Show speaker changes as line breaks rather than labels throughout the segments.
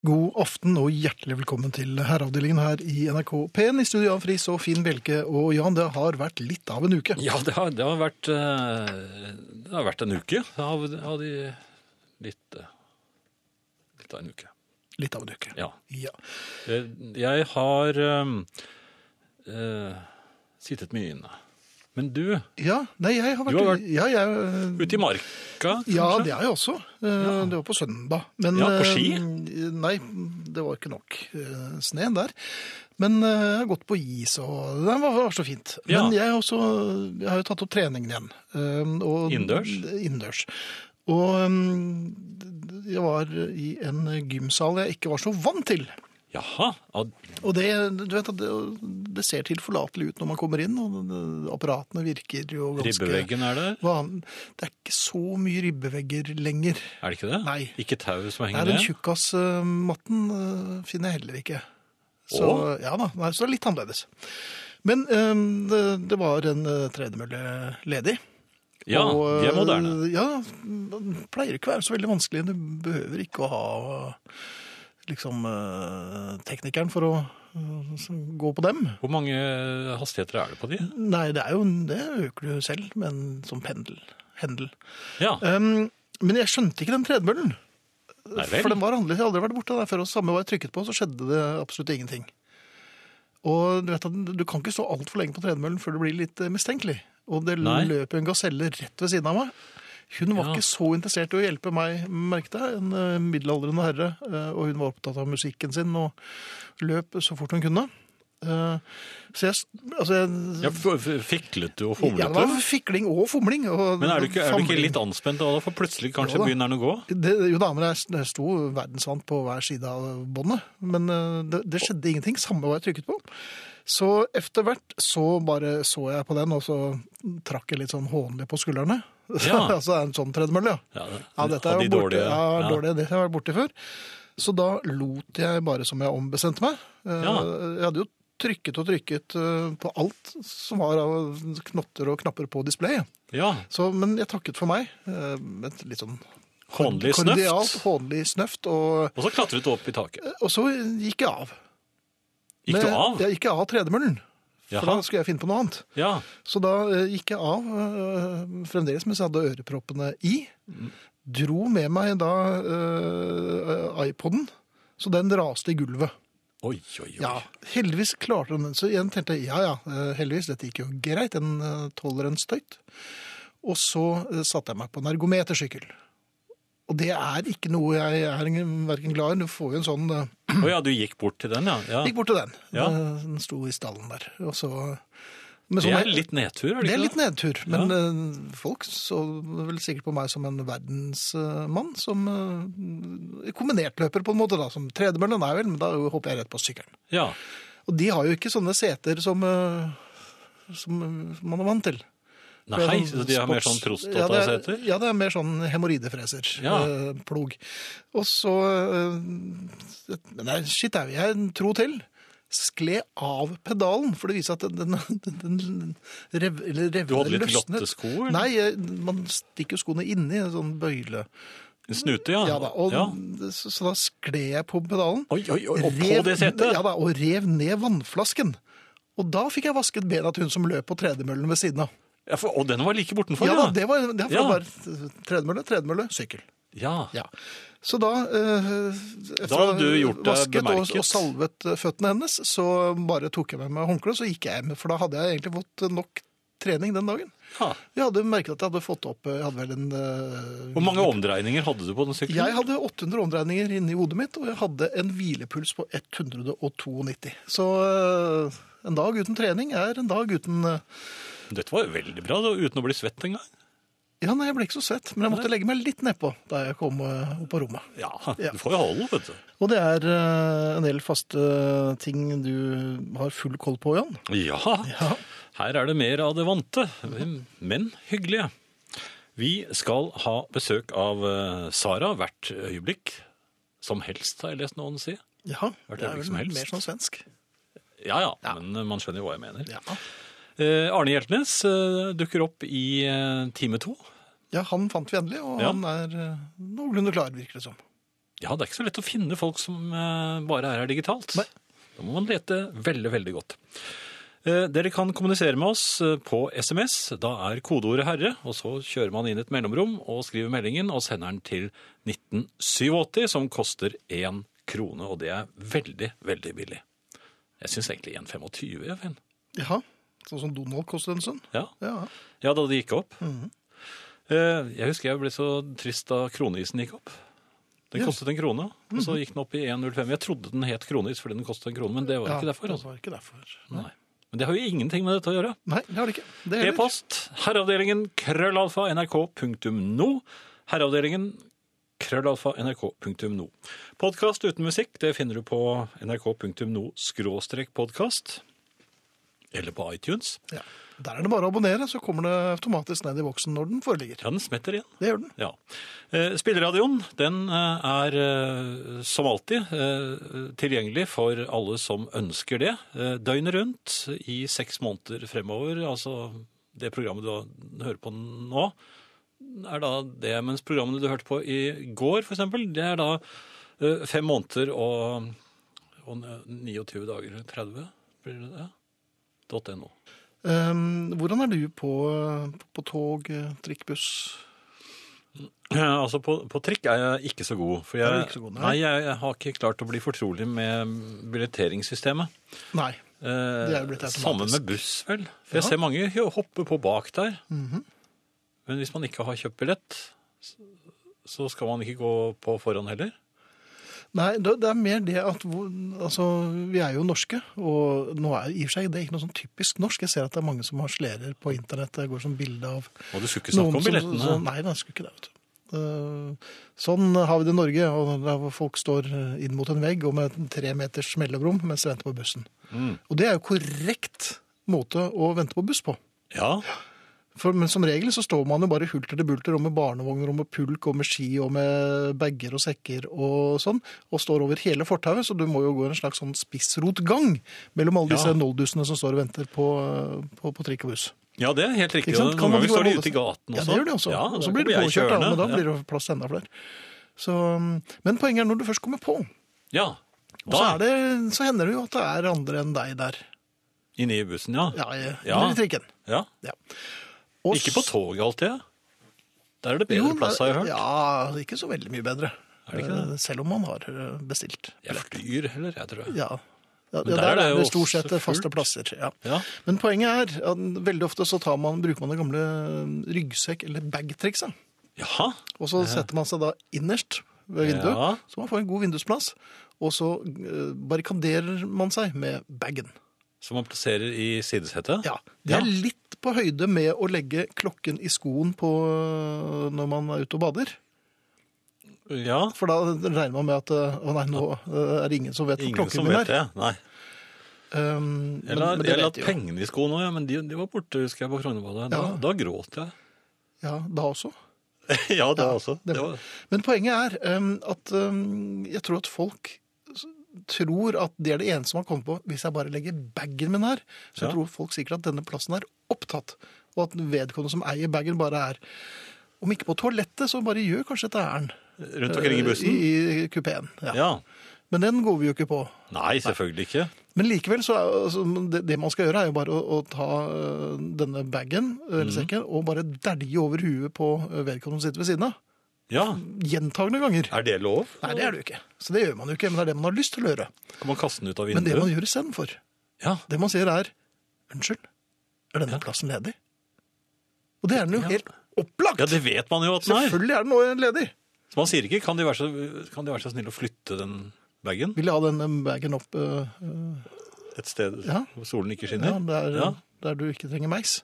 God aften og hjertelig velkommen til herreavdelingen her i NRK P1. I studio Jan Friis og Finn Bjelke. Og Jan, det har vært litt av en uke.
Ja, det har, det har, vært, eh, det har vært en uke av, av de litt, eh, litt av en uke.
Litt av en uke.
Ja.
Ja.
Eh, Jeg har eh, eh, sittet mye inne. Men du,
Ja, nei, jeg har vært,
Du har vært-
ja, jeg,
ute i marka kanskje?
ja, det er jeg også. Eh, Det var på søndag. Men,
Ja, på ski?
eh, Nei, det var ikke nok eh, sne der. Men eh, jeg har gått på is, og det var, var så fint.
Ja.
Men jeg, har også, jeg har jo tatt opp treningen igjen. eh, og-
Innendørs?
Innendørs. Og eh, jeg var i en gymsal jeg ikke var så vant til.
Jaha, ja,
Og det, du vet, at det, det ser tilforlatelig ut når man kommer inn, og det- apparatene virker jo ganske
ribbeveggen er der.
van- Det er ikke så mye ribbevegger lenger.
Er det ikke det?
Nei.
Ikke tau
Nei,
som henger
den
ned?
tjukkasmatten finner jeg heller ikke. Så,
Å?
ja, da, nei, så det er litt annerledes. Men øhm, det, det var en eh, tredemølle ledig.
Ja,
og,
de er moderne.
øh, Ja, det pleier ikke å være så veldig vanskelig. Du behøver ikke å ha liksom øh, teknikeren for å øh, så- gå på dem.
Hvor mange hastigheter er det på de?
Nei, det er jo det øker du selv med en sånn pendel. Hendel.
Ja,
Ehm, men jeg skjønte ikke den tredemøllen.
nei
For
vel.
den var annerledes. Jeg har aldri vært borte der før. Og samme hva jeg trykket på, så skjedde det absolutt ingenting. Og du vet at du kan ikke stå altfor lenge på tredemøllen før du blir litt eh, mistenkelig. Og det
Nei.
løp jo en gaselle rett ved siden av meg. Hun var
Ja.
ikke så interessert i å hjelpe meg, merket jeg. En eh, middelaldrende herre. eh, Og hun var opptatt av musikken sin og løp så fort hun kunne. Eh, Så jeg s- Altså, jeg
Ja, f- f- fiklet du og
ja,
fomlet
det
du?
var fikling og fomling. Og
Men er du ikke, er du ikke
famling.
litt anspent da, for plutselig kanskje
Jo da.
begynner den å gå?
det, jo da, men jeg- det sto verdensvant på hver side av båndet. Men eh, det, det skjedde ingenting, samme hva jeg trykket på. Så etter hvert så bare så jeg på den, og så trakk jeg litt sånn hånlig på skuldrene.
Ja.
altså det er en sånn tredemølle, ja.
Ja,
Ja, dette er
av
jo
de
borte,
dårlige-
ja,
ja.
dårlige, det har jeg vært borte før. Så da lot jeg bare som jeg ombestemte meg. Eh,
Ja.
Jeg hadde jo trykket og trykket eh, på alt som var av knotter og knapper på displayet.
Ja,
Så, men jeg takket for meg. eh, med Et litt sånn
håndlig
kordialt,
snøft.
hånlig snøft. Og,
Og så klatret du opp i taket.
og så gikk jeg av.
Gikk du
Men
av?
Jeg gikk jeg av tredemøllen. For
Jaha.
da skulle jeg finne på noe annet.
Ja.
Så da eh, gikk jeg av, eh, fremdeles mens jeg hadde øreproppene i. Dro med meg da eh, iPoden, så den raste i gulvet.
Oi, oi, oi.
Ja, Heldigvis klarte den den. Så igjen tenkte jeg ja ja, eh, heldigvis, dette gikk jo greit. Den eh, tåler en støyt. Og så eh, satte jeg meg på en ergometersykkel. Og det er ikke noe jeg er verken glad i. Du får jo en sånn eh,
Å ja, du gikk bort til den, ja. ja.
Gikk bort til den. Eh,
Ja.
Den sto i stallen der. Og så, men
Det
sånn-
er litt nedtur, er det
det er
ikke
litt
det?
nedtur, men eh, folk så vel sikkert på meg som en verdensmann, som eh, kombinertløper på en måte, da, som tredemøllen er vel, men da hopper jeg rett på sykkelen.
Ja.
Og de har jo ikke sånne seter som, eh, som eh, man er vant til. Det er
Nei,
sånn
så de har mer sånn
sports- Ja, det
prostataseter?
er- Ja, det er mer sånn hemoroidefreser.
Ja.
eh, Plog. Og så eh, Men nei, shit au, jeg tro til. Skled av pedalen, for det viser at den, den, den rev, eller rev,
Du hadde litt
løsnet.
lottesko, eller?
Nei, eh, man stikker jo skoene inni en sånn bøyle.
Snute, ja.
Ja da, og,
Ah, ja.
Så, så da skled jeg på pedalen.
Oi, oi, oi, og på
rev-
det setet?
Ja da, og rev ned vannflasken. Og da fikk jeg vasket bena til hun som løp på tredemøllen ved siden av.
Ja, for, og den var like bortenfor,
Ja,
ja.
da, det var, det var
Ja.
bare tredemølle, tredemølle, sykkel.
Ja.
Ja. Så da, eh, etter
Da
å ha
hadde du gjort deg
vasket og,
bemerket.
og salvet eh, føttene hennes, så bare tok jeg med meg håndkle, så gikk jeg hjem. For da hadde jeg egentlig fått nok trening den dagen.
Ja.
Jeg hadde merket at jeg hadde fått opp eh, Jeg hadde vel en eh,
Hvor mange omdreininger hadde du på den sykkelen?
Jeg hadde 800 omdreininger inni hodet mitt, og jeg hadde en hvilepuls på 192. Så eh, en dag uten trening er en dag uten eh,
Dette var jo veldig bra, da, uten å bli svett engang.
Ja, nei, jeg ble ikke så svett, men jeg måtte legge meg litt nedpå da jeg kom eh, opp på rommet.
Ja,
Ja.
du får jo holde, vet du.
Og det er eh, en del faste ting du har full koll på, Jan.
Ja. Her er det mer av det vante, men hyggelige. Vi skal ha besøk av eh, Sara hvert øyeblikk. Som helst, har jeg lest noen si.
Ja,
Hvert
det er
øyeblikk
vel
som helst.
mer sånn svensk.
Ja, ja, men man skjønner jo hva jeg mener.
Ja.
Eh, Arne Hjeltnes eh, dukker opp i eh, time to.
ja, han fant vi endelig, og
Ja.
han er eh, noenlunde klar, virker det som.
Ja, det er ikke så lett å finne folk som eh, bare er her digitalt.
Nei.
Da må man lete veldig, veldig godt. Eh, Dere kan kommunisere med oss eh, på SMS. Da er kodeordet 'herre', og så kjører man inn et mellomrom og skriver meldingen og sender den til 1987, som koster én krone. Og det er veldig, veldig billig. Jeg syns egentlig 1,25 er fin.
Jaha. Sånn som Donald kostet en stund.
Ja.
Ja.
ja, da det gikk opp.
Mhm.
Eh, Jeg husker jeg ble så trist da kroneisen gikk opp. Den
Ja. Mhm.
kostet en krone, og så gikk den opp i 1,05. Jeg trodde den het kroneis fordi den kostet en krone, men det var
Ja,
ikke derfor.
Det
Altså.
var ikke derfor. Nei,
Nei. Men det har jo ingenting med dette å gjøre.
det har det ikke. Det heller.
E-post herreavdelingen krøllalfa nrk.no. Herreavdelingen krøllalfa nrk.no. Podkast uten musikk det finner du på nrk.no skråstrek podkast. Eller på iTunes.
Ja. Der er det bare å abonnere, så kommer det automatisk ned i boksen når den foreligger.
Ja, den smetter igjen.
Det gjør den.
Ja. Eh, Spilleradioen den eh, er eh, som alltid eh, tilgjengelig for alle som ønsker det, eh, døgnet rundt i seks måneder fremover. Altså det programmet du har- hører på nå, er da det, mens programmene du hørte på i går for eksempel, det er da eh, fem måneder og, og 29 dager, 30, blir det det? Dot .no.
Ehm, hvordan er du på, på tog, trikk, buss?
Eh, Altså på, på trikk er jeg ikke så god. For
Er du
jeg,
ikke så god, nei?
nei, jeg, jeg har ikke klart å bli fortrolig med billetteringssystemet.
Nei.
Eh,
Det er jo blitt automatisk.
Sammen med buss, vel. For
Ja. Mhm.
jeg ser mange jo hoppe på bak der. Men hvis man ikke har kjøpt billett, s- så skal man ikke gå på forhånd heller.
Nei, det det er mer det at hvor- altså, vi er jo norske, og nå er i og for seg det er ikke noe sånn typisk norsk. Jeg ser at det er mange som har slerer på internett. Det går som bilde av
Og du skulle ikke snakke om
som-
billettene.
som- nei, nei, jeg skulle ikke det. Vet du. Eh, Sånn har vi det i Norge, og der hvor folk står inn mot en vegg og med en tre meters mellomrom mens de venter på bussen.
Mm.
Og det er jo korrekt måte å vente på buss på.
Ja,
For, men som regel så står man jo bare hulter til bulter og med barnevogner og med pulk og med ski og med bager og sekker og sånn, og står over hele fortauet, så du må jo gå en slags sånn spissrotgang mellom alle disse
Ja.
noldusene som står og venter på, eh, på, på trikk og buss.
ja, det er helt riktig.
Ikke sant?
Og
Kan man
Noen ganger
ikke
står de
holde
ute i
seg-
gaten
Ja,
også.
det gjør de også.
Ja,
og
der
så blir det
kommer jeg
påkjørt, ja,
kjørende.
men da
Ja.
blir det jo plass til enda flere. Så, men poenget er når du først kommer på,
Ja,
og så,
da
er det, så hender det jo at det er andre enn deg der.
inne i bussen, ja.
Ja, i,
Ja.
eller i trikken.
ja.
Ja. Og
Ikke på
s-
toget alltid. Der er det
jo,
bedre
det-
plass, har jeg hørt.
Ja, ikke så veldig mye bedre.
Er det ikke
Eh, Selv om man har eh, bestilt.
Jeg flyr heller, jeg tror jeg.
Ja, ja, ja
Men
der, er det jo stort sett
også
faste
fullt.
plasser. Ja.
Ja.
Men poenget er at veldig ofte så tar man, bruker man det gamle ryggsekk- eller bag-trikset.
Jaha.
Og så setter man seg da innerst ved vinduet,
Ja.
så man får en god vindusplass. Og så eh, barrikaderer man seg med bagen.
Som man plasserer i sidesetet?
Ja, Det er
Ja.
litt på høyde med å legge klokken i skoen på, eh, når man er ute og bader.
Ja,
For da regner man med at eh, Å nei, nå eh, er det ingen som vet hvor
Ingen
klokken
som
min
vet
er.
det. Nei.
Um,
Jeg
men-
la,
men det
jeg la
vet de jo.
pengene i skoen òg, ja, men de, de var borte, husker jeg, på Frognerbadet. Da,
Ja.
da gråt jeg.
Ja, da også.
ja, det
Ja,
også.
det
Det
var-
var,
Men poenget er um, at um, jeg tror at folk s- tror at det er det eneste man kommer på hvis jeg bare legger bagen min her. Så
Ja.
tror folk sikkert at denne plassen er opptatt, og at vedkommende som eier bagen, bare er Om ikke på toalettet, så bare gjør kanskje et ærend.
rundt omkring i bussen.
I, Øh, i kupeen. Ja.
Ja.
Men den går vi jo ikke på.
Nei, selvfølgelig ikke.
Men likevel, så er, altså, det, det man skal gjøre, er jo bare å, å ta øh, denne bagen eller sekken og bare dælje over huet på øh, vedkommende som sitter ved siden av.
Ja,
Gjentagende ganger.
Er det lov?
Nei, det er det jo ikke. Så det gjør man jo ikke, men det er det man har lyst til å gjøre.
Kan man kaste den ut av
Men det
vinduet?
man gjør istedenfor,
Ja,
det man sier er Unnskyld, er denne plassen ledig? Og det er den jo
Ja.
helt opplagt!
ja, det vet man jo at den er.
Selvfølgelig er den nå ledig!
Så man sier ikke 'kan de være så, kan de være så snille å flytte den bagen
Vil jeg ha denne bagen opp øh, øh,
et sted
Ja.
hvor solen ikke
ja,
skinner'?
der,
Ja.
der du ikke trenger meis?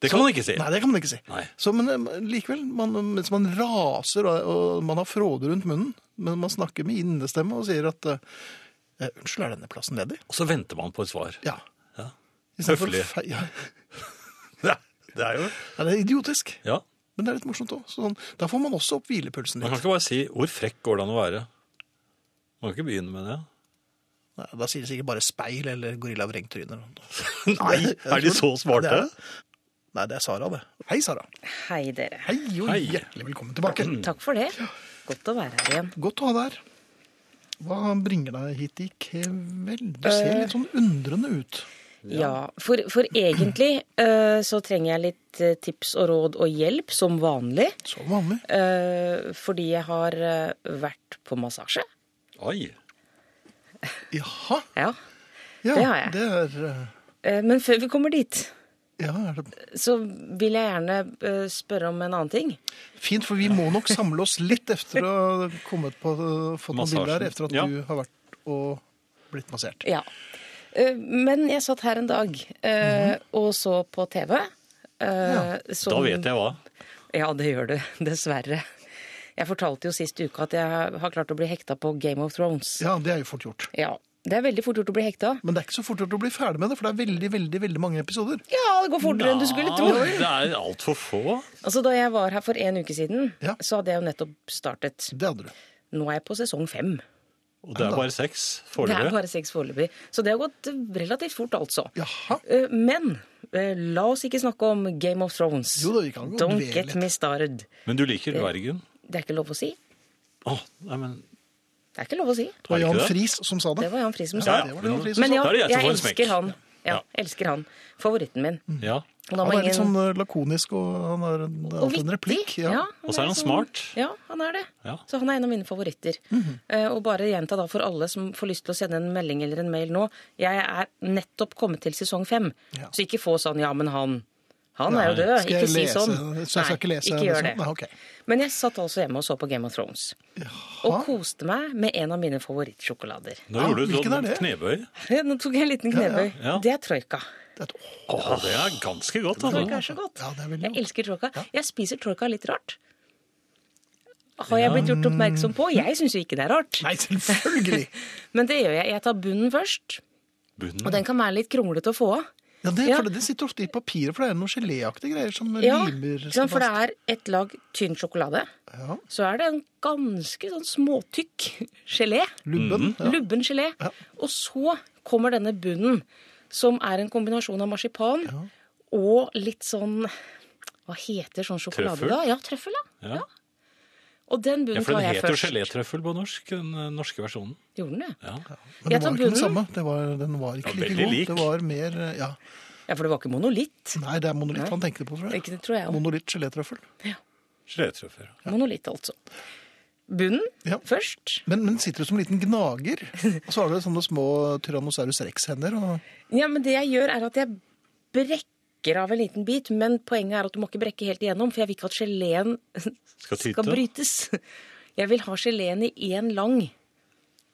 Det kan man ikke si.
Nei, det kan man ikke si.
Nei.
Så, men eh, likevel, man, mens man raser og, og man har fråde rundt munnen, men man snakker med innestemme og sier at eh, eh, Unnskyld, er denne plassen ledig?
Og så venter man på et svar.
Ja.
Ja.
I stedet for
Høflig.
fe- Ja.
Det er- det er jo
Ja, det er idiotisk,
Ja.
men det er litt morsomt òg. Sånn, da får man også opp hvilepulsen
Man kan
litt.
ikke bare si 'hvor frekk går det an å være'? Man kan ikke begynne med det.
Nei, Da sier de sikkert bare speil eller gorilla vrengtryner.
Nei, er de så
Det er-
smarte?
Nei, det er Sara, det. Hei, Sara.
Hei, dere.
Hei, og
Hei.
hjertelig velkommen tilbake.
Takk for det. Godt å være her igjen.
Godt å ha deg her. Hva bringer deg hit i kveld? Du ser litt sånn undrende ut.
Ja, for, for egentlig eh, så trenger jeg litt eh, tips og råd og hjelp, som vanlig.
Som vanlig.
eh, fordi jeg har eh, vært på massasje.
Oi.
Jaha.
Ja.
Ja,
Det har jeg.
Det er, eh,
Eh, men før vi kommer dit,
ja, er det
så vil jeg gjerne eh, spørre om en annen ting.
Fint, for vi må nok samle oss litt etter å ha kommet på, fått noen
Massasjen.
bilder her, etter at
Ja.
du har vært og blitt massert.
Ja. Eh, men jeg satt her en dag eh, og så på eh, TV.
Ja,
Mhm.
Sånn-
Da vet jeg hva.
Ja, det gjør du. Dessverre. Jeg fortalte jo sist uke at jeg har klart å bli hekta på Game of Thrones.
Ja, det er jo fort gjort.
Ja. Det er veldig fort gjort å bli hekta.
Men det er ikke så fort gjort å bli ferdig med det, for det er veldig, veldig, veldig mange episoder.
Ja, det går fortere enn du skulle tro.
Ja, Ah, Det er altfor få.
Altså, Da jeg var her for en uke siden,
Ja.
så hadde jeg jo nettopp startet.
Det hadde du.
Nå er jeg på sesong fem.
Og det er bare seks
Det er
foreløpig.
bare seks foreløpig. Så det har gått eh, relativt fort, altså.
Jaha.
Eh, Men eh, la oss ikke snakke om Game of Thrones.
Jo da, vi kan godt
Don't
dvele
get
litt.
me started.
Men du liker dvergen?
Det er ikke lov å si.
Å, nei, men
Det er ikke lov å si.
Det var Jan
ikke det?
Friis som sa det.
Det var Jan Friis som
Ja,
sa
det var det Jan Friis som
Men
sa.
ja,
Da er det jeg som
jeg
får en smekk.
elsker han. Ja,
Ja.
elsker han. Favoritten min.
Ja.
Og da må
Han er litt
ingen-
sånn eh, lakonisk, og han har en, det er
og
alltid en
vittig.
replikk.
Ja,
Og så er han
sånn-
smart.
Ja, han er det.
Ja.
Så han er en av mine favoritter. Eh, og bare gjenta da for alle som får lyst til å sende en melding eller en mail nå. Jeg er nettopp kommet til sesong fem,
Ja.
så ikke få sånn 'ja, men han'. Han er jo
Nei.
død.
Skal
Ikke
jeg
si
lese?
sånn.
Så jeg skal
Nei,
ikke lese
ikke
det
gjør
sånn?
det.
Nei, ok.
Men jeg satt altså hjemme og så på Game of Thrones. Og koste meg med en av mine favorittsjokolader.
Nå
Ja,
gjorde du
hvilken er
sånn
det?
knebøy.
Nå tok jeg en liten knebøy.
Ja, ja.
Det er troika.
Det er et- åh,
Å, det er ganske godt,
Troika
altså.
er så godt.
Ja, det er veldig
jeg
godt.
elsker troika. Jeg spiser troika litt rart. Har jeg blitt gjort oppmerksom på? Jeg syns jo ikke det er rart.
mm. Nei, selvfølgelig!
Men det gjør jeg. Jeg tar bunnen først. Og
Bunnen.
den kan være litt kronglete å få av.
Ja, det,
Ja.
For det, det sitter ofte i papiret, for det er noen geléaktige greier som
Ja,
limer
ikke
seg
sant? for det
fast.
er et lag tynn sjokolade.
Ja.
Så er det en ganske sånn småtykk gelé.
Mhm.
Lubben. ja.
Lubben gelé. Og så kommer denne bunnen, som er en kombinasjon av marsipan og litt sånn Hva heter sånn sjokolade,
Trøffel?
da? Ja, trøffel, ja.
Ja.
ja. Og den bunnen
Ja, for
tar
den
jeg
heter jo
først.
gelétrøffel på norsk, den eh, norske versjonen.
Gjorde den det?
Ja.
Men
Jeg
det
tar
var ikke den
bunnen.
samme. Det var, den var ikke
Ja,
like
veldig
god.
lik.
Det var mer eh, Ja.
Ja, for det var ikke monolitt.
Nei, det er monolitt han tenkte på, tror jeg.
Ikke det tror jeg også.
Monolitt gelétrøffel.
Gelétrøffel.
Monolitt, altså. Bunnen
Ja.
først.
Men, men sitter du som en liten gnager? Og så har du sånne små Tyrannosaurus rex-hender. og-
Ja, men det jeg gjør er at jeg brekker av en liten bit, men poenget er at du må ikke brekke helt igjennom, for jeg vil ikke at geleen
Skal tyte.
skal brytes. Jeg vil ha geleen i én lang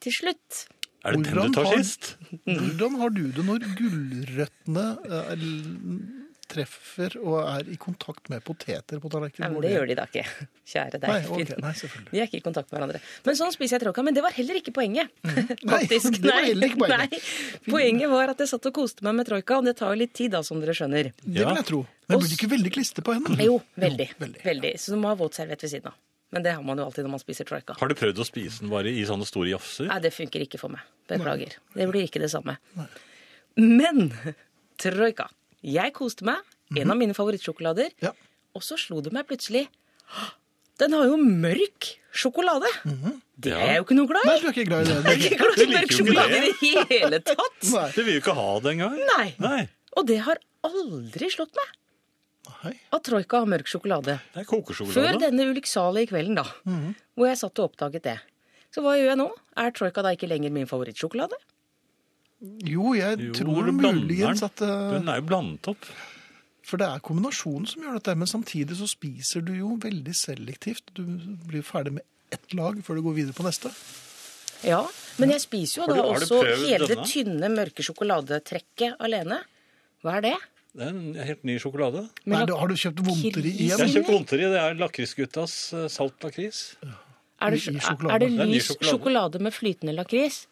til slutt.
Er det den
Hvordan
du tar
har-
sist?
Mm.
Hvordan har du det når gulrøttene eh, l- treffer og er i kontakt med poteter på
Nei,
tallerkenen?
men det gjør de da ikke. Kjære deg.
Nei, ok,
Finn.
nei, selvfølgelig.
De er ikke i kontakt med hverandre. Men sånn spiser jeg tråkka. Men det var heller ikke poenget.
Mm. Nei,
Faktisk.
det var heller ikke poenget.
Nei. Poenget var at jeg satt og koste meg med troika, og det tar jo litt tid da, som dere skjønner.
Det vil jeg tro. Men
Og
blir du ikke veldig klistret på hendene?
Jo, veldig.
veldig.
veldig. Så du må ha våtserviett ved siden av. Men det har man jo alltid når man spiser troika.
Har du prøvd å spise den bare i sånne store jafser?
Nei, det funker ikke for meg. Beklager. Det blir ikke det samme. Men troika. Jeg koste meg. En av mine favorittsjokolader.
Ja.
Og så slo det meg plutselig «Hå! Den har jo mørk sjokolade! Det er jeg jo ikke noe glad
Nei,
i!
du er ikke glad i
Jeg
det.
er
Du liker
ikke glad i
jo
mørk
ikke
sjokolade i det hele tatt!
Nei.
Du vil jo ikke ha det engang.
Nei.
Nei.
Og det har aldri slått meg
Nei.
at Troika har mørk sjokolade.
Det er
Før
kokesjokolade.
denne ulykksalige kvelden, da, hvor jeg satt og oppdaget det. Så hva gjør jeg nå? Er Troika da ikke lenger min favorittsjokolade?
Jo, jeg
Jo,
tror
du blander
muligens at eh,
Den er jo blandet opp.
For det er kombinasjonen som gjør dette, men samtidig så spiser du jo veldig selektivt. Du blir ferdig med ett lag før du går videre på neste.
Ja, men jeg spiser jo
Har
da
du- har du
også
prøvd
hele det
denne?
tynne, mørke sjokoladetrekket alene. Hva er det?
Det er en helt ny sjokolade.
Nei,
Men
da har du kjøpt vondteri
Jeg har
igjen?
kjøpt vondteri. Det er lakrisguttas eh, salt lakris.
Er det,
I- i sjokolade.
er det
Det er ny
lys
sjokolade.
sjokolade med flytende lakris?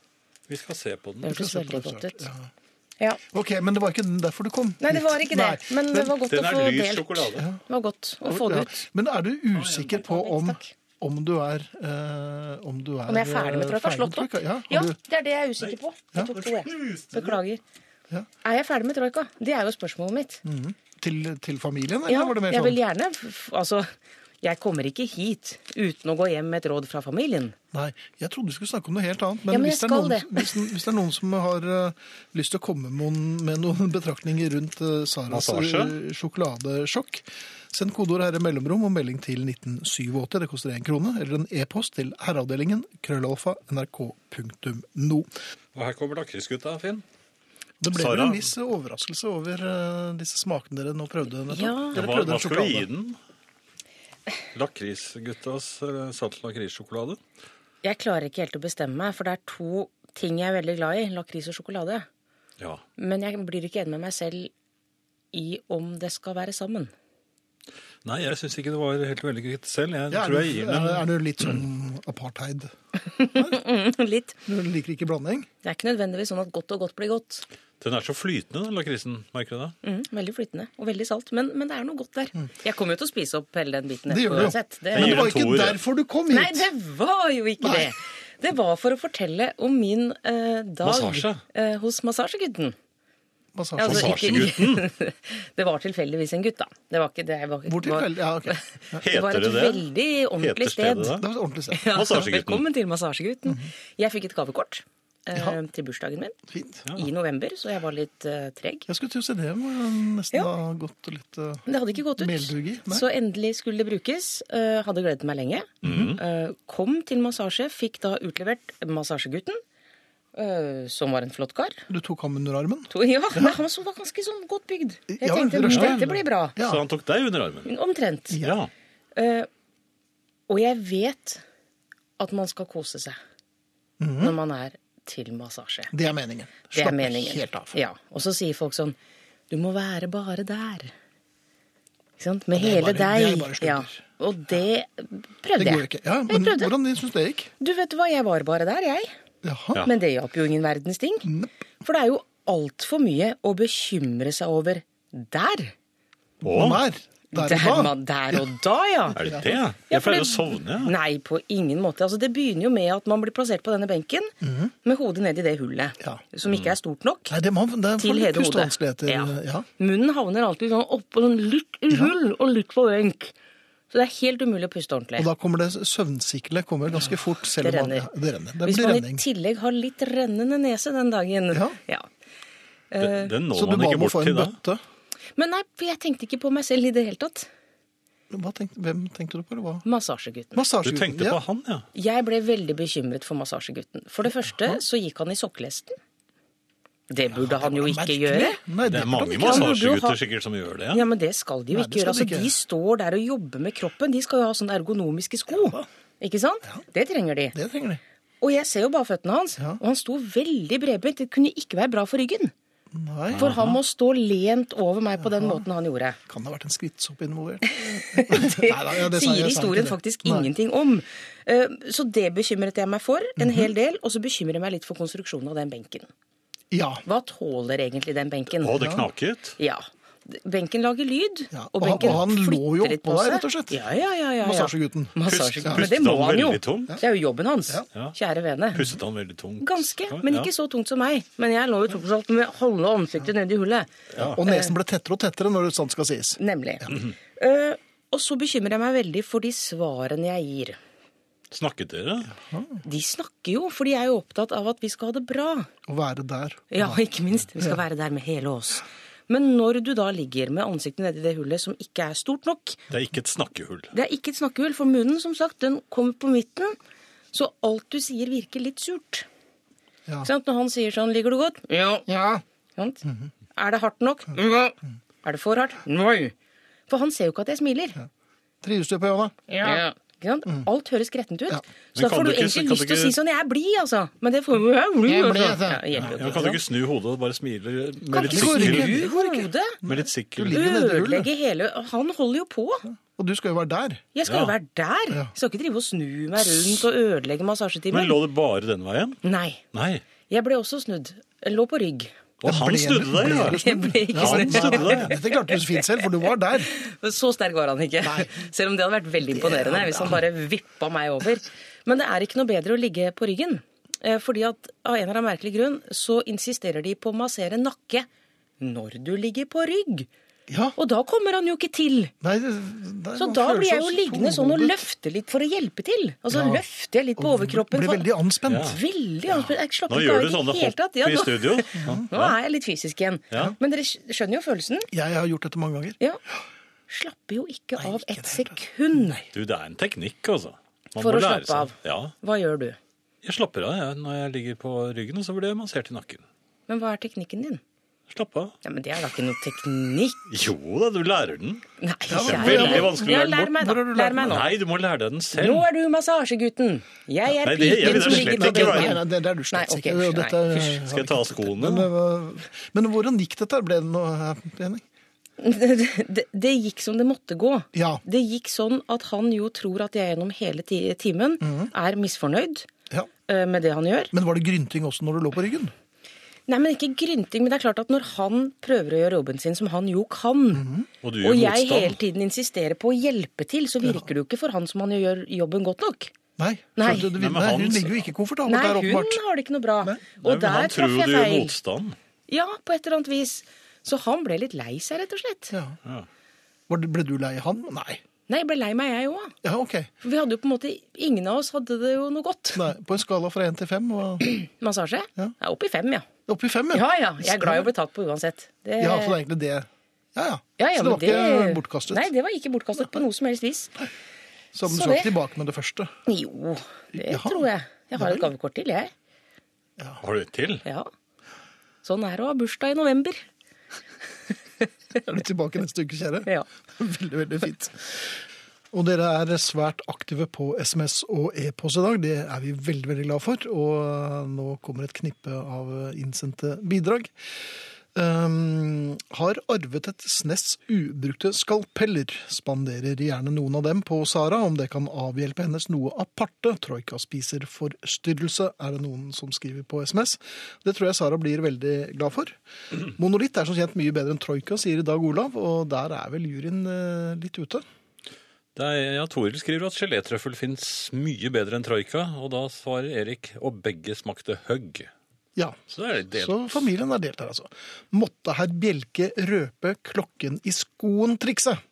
Vi skal se på den.
Det
skal
hørtes
se på
veldig
det
godt ut.
snart,
Ja.
Ok, men det var ikke derfor du kom?
Nei, det
hit.
var ikke det.
Nei.
Men det var godt å
Den er
få
lys
delt.
sjokolade.
Det var godt å få det
Ja.
ut.
Men er du usikker på om,
Takk.
om du er eh, Om du er, eh,
Om jeg er ferdig med trøkka?
ferdig
Slått opp?
trøkka? Ja, har
Ja,
du-
det er det jeg er usikker på. Jeg tok to, jeg. Beklager.
Ja.
Er jeg ferdig med troika? Det er jo spørsmålet mitt.
mhm. Til, til familien, eller
Ja,
var det mer
jeg vil
sånn?
gjerne f- Altså, Jeg kommer ikke hit uten å gå hjem med et råd fra familien.
Nei, jeg trodde vi skulle snakke om noe helt annet. Men,
Ja, men jeg
hvis, det er
skal
noen,
det.
hvis, hvis det er noen som har eh, lyst til å komme med noen, med noen betraktninger rundt eh, Saras
Massasje?
eh, sjokoladesjokk, send kodeord herre mellomrom og melding til 1987. Det koster én krone. Eller en e-post til herreavdelingen krøllalfa nrk.no.
Og her kommer lakrisgutta, Finn.
Det ble vel
Sara?
en viss eh, overraskelse over eh, disse smakene dere nå prøvde. nettopp.
Ja.
Dere
Hva,
prøvde
hva
en
skal vi gi
sjokolade.
den? Lakrisguttas eh, salt lakrissjokolade?
Jeg klarer ikke helt å bestemme meg, for det er to ting jeg er veldig glad i. Lakris og sjokolade.
Ja.
Men jeg blir ikke enig med meg selv i om det skal være sammen.
Nei, jeg syns ikke det var helt veldig greit selv. Jeg
Ja, er,
tror jeg
du,
gir
er,
den
er du litt sånn apartheid?
Litt.
Du liker ikke blanding?
Det er ikke nødvendigvis sånn at godt og godt blir godt.
Den er så flytende, den lakrisen. Merker du det?
Mm, veldig flytende og veldig salt. Men, men det er noe godt der. Jeg kommer jo til å spise opp hele den biten.
Mm. Det gjør du
etterpå
jo.
uansett. Det-
Men
gir
det var
en
ikke
toer, ja.
derfor du kom hit.
Nei, det var jo ikke
Nei.
det. Det var for å fortelle om min eh, dag
Massasje.
eh, hos massasjegutten.
Massasje.
Altså, ikke-
Massasjegutten?
det var tilfeldigvis en gutt, da. Det var ikke det. jeg Var,
Hvor tilfeldig? Ja, ok.
Det var
Heter
et
det det?
veldig ordentlig
Heter stedet det?
sted.
Det var et ordentlig sted.
Ja,
Massasjegutten. Mhm.
Velkommen til Massasjegutten. Jeg fikk et gavekort eh,
Ja.
til bursdagen min
Fint.
i november, så jeg var litt eh, treg.
Jeg skulle til å se det, hvor jeg nesten
Ja.
har gått litt eh,
Men det hadde ikke gått ut.
Meldurgi, nei.
Så endelig skulle det brukes. Eh, hadde gledet meg lenge.
Mhm.
Eh, kom til massasje, fikk da utlevert massasjegutten, eh, som var en flott kar.
Du tok ham under armen?
To, ja, men Han som var ganske sånn godt bygd. Jeg
Ja,
tenkte
Rushdown.
dette blir bra.
Ja.
Så han tok deg under armen?
Omtrent.
Ja.
Eh, og jeg vet at man skal kose seg når man er til massasje.
Det er meningen.
Det er
Mhm. Slapp
meningen.
helt av.
Ja, Og så sier folk sånn Du må være bare der. Ikke sant? Med
det er
hele
bare- det er
deg.
bare sludder.
Ja. Og det prøvde
Det går
jeg.
jo ikke. Ja,
jeg
men
prøvde.
hvordan syns du det gikk?
Du vet hva, jeg var bare der, jeg.
Jaha.
Ja.
Men det hjalp jo ingen verdens ting. For det er jo altfor mye å bekymre seg over der.
Å,
Man er der
der,
og da.
man, der og da, ja.
er det det?
Ja,
Jeg
for
pleier
det-
å sovne, jeg.
Nei, på ingen måte. Altså, det begynner jo med at man blir plassert på denne benken med hodet ned i det hullet,
Mhm. Ja.
som ikke er stort nok.
Nei, det, må, det er
Til
for
hele hodet.
pustevanskeligheter. Ja. Ja.
Munnen havner alltid sånn oppå sånn litt i hull og litt på benk. Så det er helt umulig å puste ordentlig.
Og da kommer det søvnsiklet kommer ganske fort. Selv
det
om man-
renner.
Ja, det renner. Det
Hvis
blir
man i
renning.
tillegg har litt rennende nese den dagen.
Ja.
Den, den når
Så du
man
ba
ikke
om å
bort
få
til
en
da.
bøtte.
Men nei, for jeg tenkte ikke på meg selv i det hele tatt.
Hva tenkte, hvem tenkte du på, eller hva?
Massasjegutten.
Du
Massasjegutten.
tenkte på
ja.
han, ja.
Jeg ble veldig bekymret for massasjegutten. For det første så gikk han i sokkelesten. Det burde han jo ikke
Merkelig.
gjøre.
Nei, burde
Det er
han
mange
ikke.
Han burde jo ha-
massasjegutter sikkert som gjør det.
Ja, men det skal de jo
Nei,
ikke
det
gjøre.
skal de
Altså,
ikke.
De står der og jobber med kroppen. De skal jo ha sånne ergonomiske sko. Ikke sant? Det trenger de.
Det trenger de.
Og jeg ser jo bare føttene hans,
Ja.
og han sto veldig bredbent. Det kunne ikke være bra for ryggen.
Nei,
For han må stå lent over meg på den måten han gjorde.
kan det ha vært en skvittsopp involvert?
Det
Nei, nei, ja, det sa- jeg
sier
sa
historien
ikke det.
faktisk
Nei.
ingenting om. Eh, Så det bekymret jeg meg for en
Mhm.
hel del, og så bekymrer jeg meg litt for konstruksjonen av den benken.
Ja.
Hva tåler egentlig den benken?
Å, det knaket.
Ja. Benken lager lyd,
Ja,
og
og han-
benken
og han lå jo
flytter litt
oppå
på
der,
seg.
rett og slett.
Ja, ja, ja, ja, ja.
Massasjegutten.
Massasjegutten. Men
Pust-
det
pustet
må
han
han jo.
veldig tungt?
Det er jo jobben hans.
Ja.
Kjære vene.
Pustet han veldig tungt?
Ganske, men
Ja.
ikke så tungt som meg. Men jeg lå jo tross alt med halve ansiktet nedi hullet.
Og nesen ble tettere og tettere når det sant skal sies.
Nemlig. Eh, og så bekymrer jeg meg veldig for de svarene jeg gir.
Snakket dere?
De snakker jo, for de er jo opptatt av at vi skal ha det bra.
Å være der.
Ja, ikke minst. Vi skal være der med hele oss. Men når du da ligger med ansiktet nedi det hullet som ikke er stort nok,
Det er ikke et snakkehull.
Det er ikke et snakkehull, for munnen som sagt, den kommer på midten, så alt du sier virker litt surt.
Ja.
Sant? Når han sier sånn 'Ligger du godt?' Ja. Mhm. Sant? Er det hardt nok? Ja. Er det for hardt? Nei. For han ser jo ikke at jeg smiler.
Trives du på Johanna?
Ja. Mhm. Ikke sant? Alt høres grettent ut. Så
Men
da
kan
får
du
du
ikke-
egentlig
kan
lyst
du
til å si
ikke-
sånn 'Jeg er blid', altså. Men det får jo
Jeg er blid,
Ja,
altså.
det hjelper jo
Ja,
ikke.
kan du ikke snu hodet og bare smile med
Kan
litt
Det går ikke.
sikkel?
Det går ikke.
Hodet
Med litt sikkel.
ligger nede i hullet.
ødelegger hele Han holder jo på.
Og du skal jo være der.
Jeg skal jo
Ja.
være der. Jeg skal ikke drive og snu meg rundt og ødelegge
Men
massasjetimen.
lå det bare den veien?
Nei.
Nei.
Jeg ble også snudd. Jeg Lå på rygg.
Og han snudde deg,
ja.
ja.
Ja,
Han snudde deg.
Dette klarte du så fint selv, for du var der.
Så sterk var han ikke. Selv om det hadde vært veldig imponerende hvis han bare vippa meg over. Men det er ikke noe bedre å ligge på ryggen. Eh, Fordi at av en eller annen merkelig grunn så insisterer de på å massere nakke når du ligger på rygg.
Ja.
Og da kommer han jo ikke til.
Nei, det- det er
Så
noen
da blir jeg jo
følelser,
liggende sånn og
tålmodig.
løfte litt for å hjelpe til. Og så
Ja.
løfter jeg litt på overkroppen.
Blir
for-
veldig anspent.
Ja.
Veldig anspent. Jeg slapper
Nå
ikke
gjør
av
du
i
sånne
det hele tatt.
hopp
Ja,
i
nå-
studio.
Nå er jeg litt fysisk igjen.
Ja.
Men dere skj- skjønner jo følelsen.
Jeg har gjort dette mange ganger.
Ja. Slapper jo ikke
Nei,
av
ikke
ett
det hele tatt.
sekund.
Du, det er en teknikk, altså. Man
For
må
å
lære
slappe
seg-
av.
Ja.
Hva gjør du?
Jeg slapper av jeg, når jeg ligger på ryggen, og så blir jeg massert i nakken.
Men hva er teknikken din?
Slapp av.
Ja, men Det er da ikke noe teknikk.
Jo da, du lærer den.
Nei,
men-
kjære.
Veldig
vanskelig å
Ja,
lære den bort.
meg
Når har du
nå.
lært
Lær meg nå.
Nei, du må lære deg den selv.
Nå er du massasjegutten. Jeg er
Nei, det- jeg vil
piken
da
som
slett
ligger på
ikke være-
Nei, nei,
benken.
det det er du slett
Nei, ok,
ikke.
fysj,
Dette
nei,
er-
fysj.
Skal jeg ta av skoene?
Men, øh, men hvordan gikk dette? Ble det noe eh, mening?
Det, det gikk som det måtte gå.
Ja.
Det gikk sånn at han jo tror at jeg gjennom hele ti- timen
Mhm.
er misfornøyd
Ja.
eh, med det han gjør.
Men var det grynting også når du lå på ryggen?
Nei, men ikke grynting, men det er klart at når han prøver å gjøre jobben sin, som han jo kan,
Mhm. Og du
og
gjør
jeg hele
motstand.
tiden insisterer på å hjelpe til, så virker det jo ikke for han som han gjør jobben godt nok.
Nei.
Nei.
Så du- du-
Nei, men
nei, hun
han-
ligger jo ikke komfortabelt
Nei,
der,
hun
åpenbart.
har det ikke noe bra.
Nei,
Og
men han
der
tror
traff
jo
jeg
du gjør
feil.
motstand.
Ja, på et eller annet vis. Så han ble litt lei seg, rett og slett.
Ja.
Ja.
Var det- Ble du lei han? Nei.
Nei, jeg ble lei meg, jeg òg.
Ja, OK.
Vi hadde jo på en måte Ingen av oss hadde det jo noe godt.
Nei. På en skala fra én til fem? og-
Massasje?
Ja.
Jeg er oppe i fem, ja.
Oppi fem,
Ja ja. Jeg er glad i å bli tatt på uansett. Det-
Ja, for det er egentlig det. Ja, ja.
Ja, ja,
så det var
men
ikke bortkastet.
Nei, det var ikke bortkastet på noe som helst vis.
så du
så
skal
det-
ikke tilbake med det første.
Jo, det
Jaha.
tror jeg. Jeg har et gavekort til, jeg.
Har du et til?
Ja. Sånn er det å ha bursdag i november.
Er du tilbake neste uke, kjære?
Ja.
Veldig, veldig fint. Og dere er svært aktive på SMS og e-post i dag. Det er vi veldig veldig glad for. Og nå kommer et knippe av innsendte bidrag. Um, har arvet et snes ubrukte skalpeller. Spanderer gjerne noen av dem på Sara, om det kan avhjelpe hennes noe aparte. Troika spiser forstyrrelse, er det noen som skriver på SMS. Det tror jeg Sara blir veldig glad for. Monolitt er som kjent mye bedre enn troika, sier i dag Olav, og der er vel juryen eh, litt ute.
Det er, ja, Toril skriver at gelétrøffel fins mye bedre enn troika, og da svarer Erik og begge smakte høgg.
Ja,
Så det er litt
Så
delt.
familien er delt her, altså. Måtte herr Bjelke røpe klokken i skoen-trikset.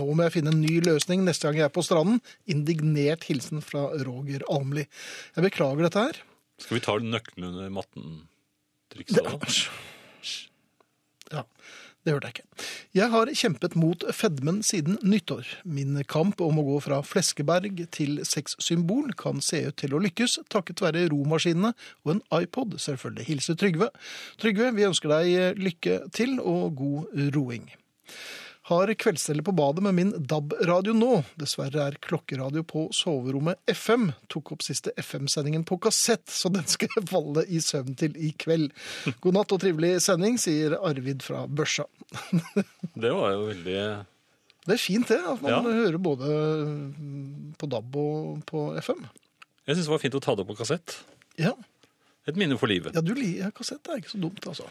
Nå må jeg finne en ny løsning neste gang jeg er på stranden. Indignert hilsen fra Roger Almli. Jeg beklager dette her.
Skal vi ta nøkkelen under matten-trikset da?
Det, ja, det hørte jeg ikke. Jeg har kjempet mot fedmen siden nyttår. Min kamp om å gå fra Fleskeberg til sexsymbol kan se ut til å lykkes, takket være romaskinene og en iPod, selvfølgelig. Hilse Trygve. Trygve, vi ønsker deg lykke til og god roing. Har kveldsstellet på badet med min DAB-radio nå. Dessverre er klokkeradio på soverommet FM. Tok opp siste FM-sendingen på kassett, så den skal jeg falle i søvn til i kveld. God natt og trivelig sending, sier Arvid fra Børsa.
Det var jo veldig
Det er fint det, at man
Ja.
hører både mm, på DAB og på FM.
Jeg syns det var fint å ta det på kassett.
Ja,
Et minne for livet.
ja du liker kassett, det er ikke så dumt altså.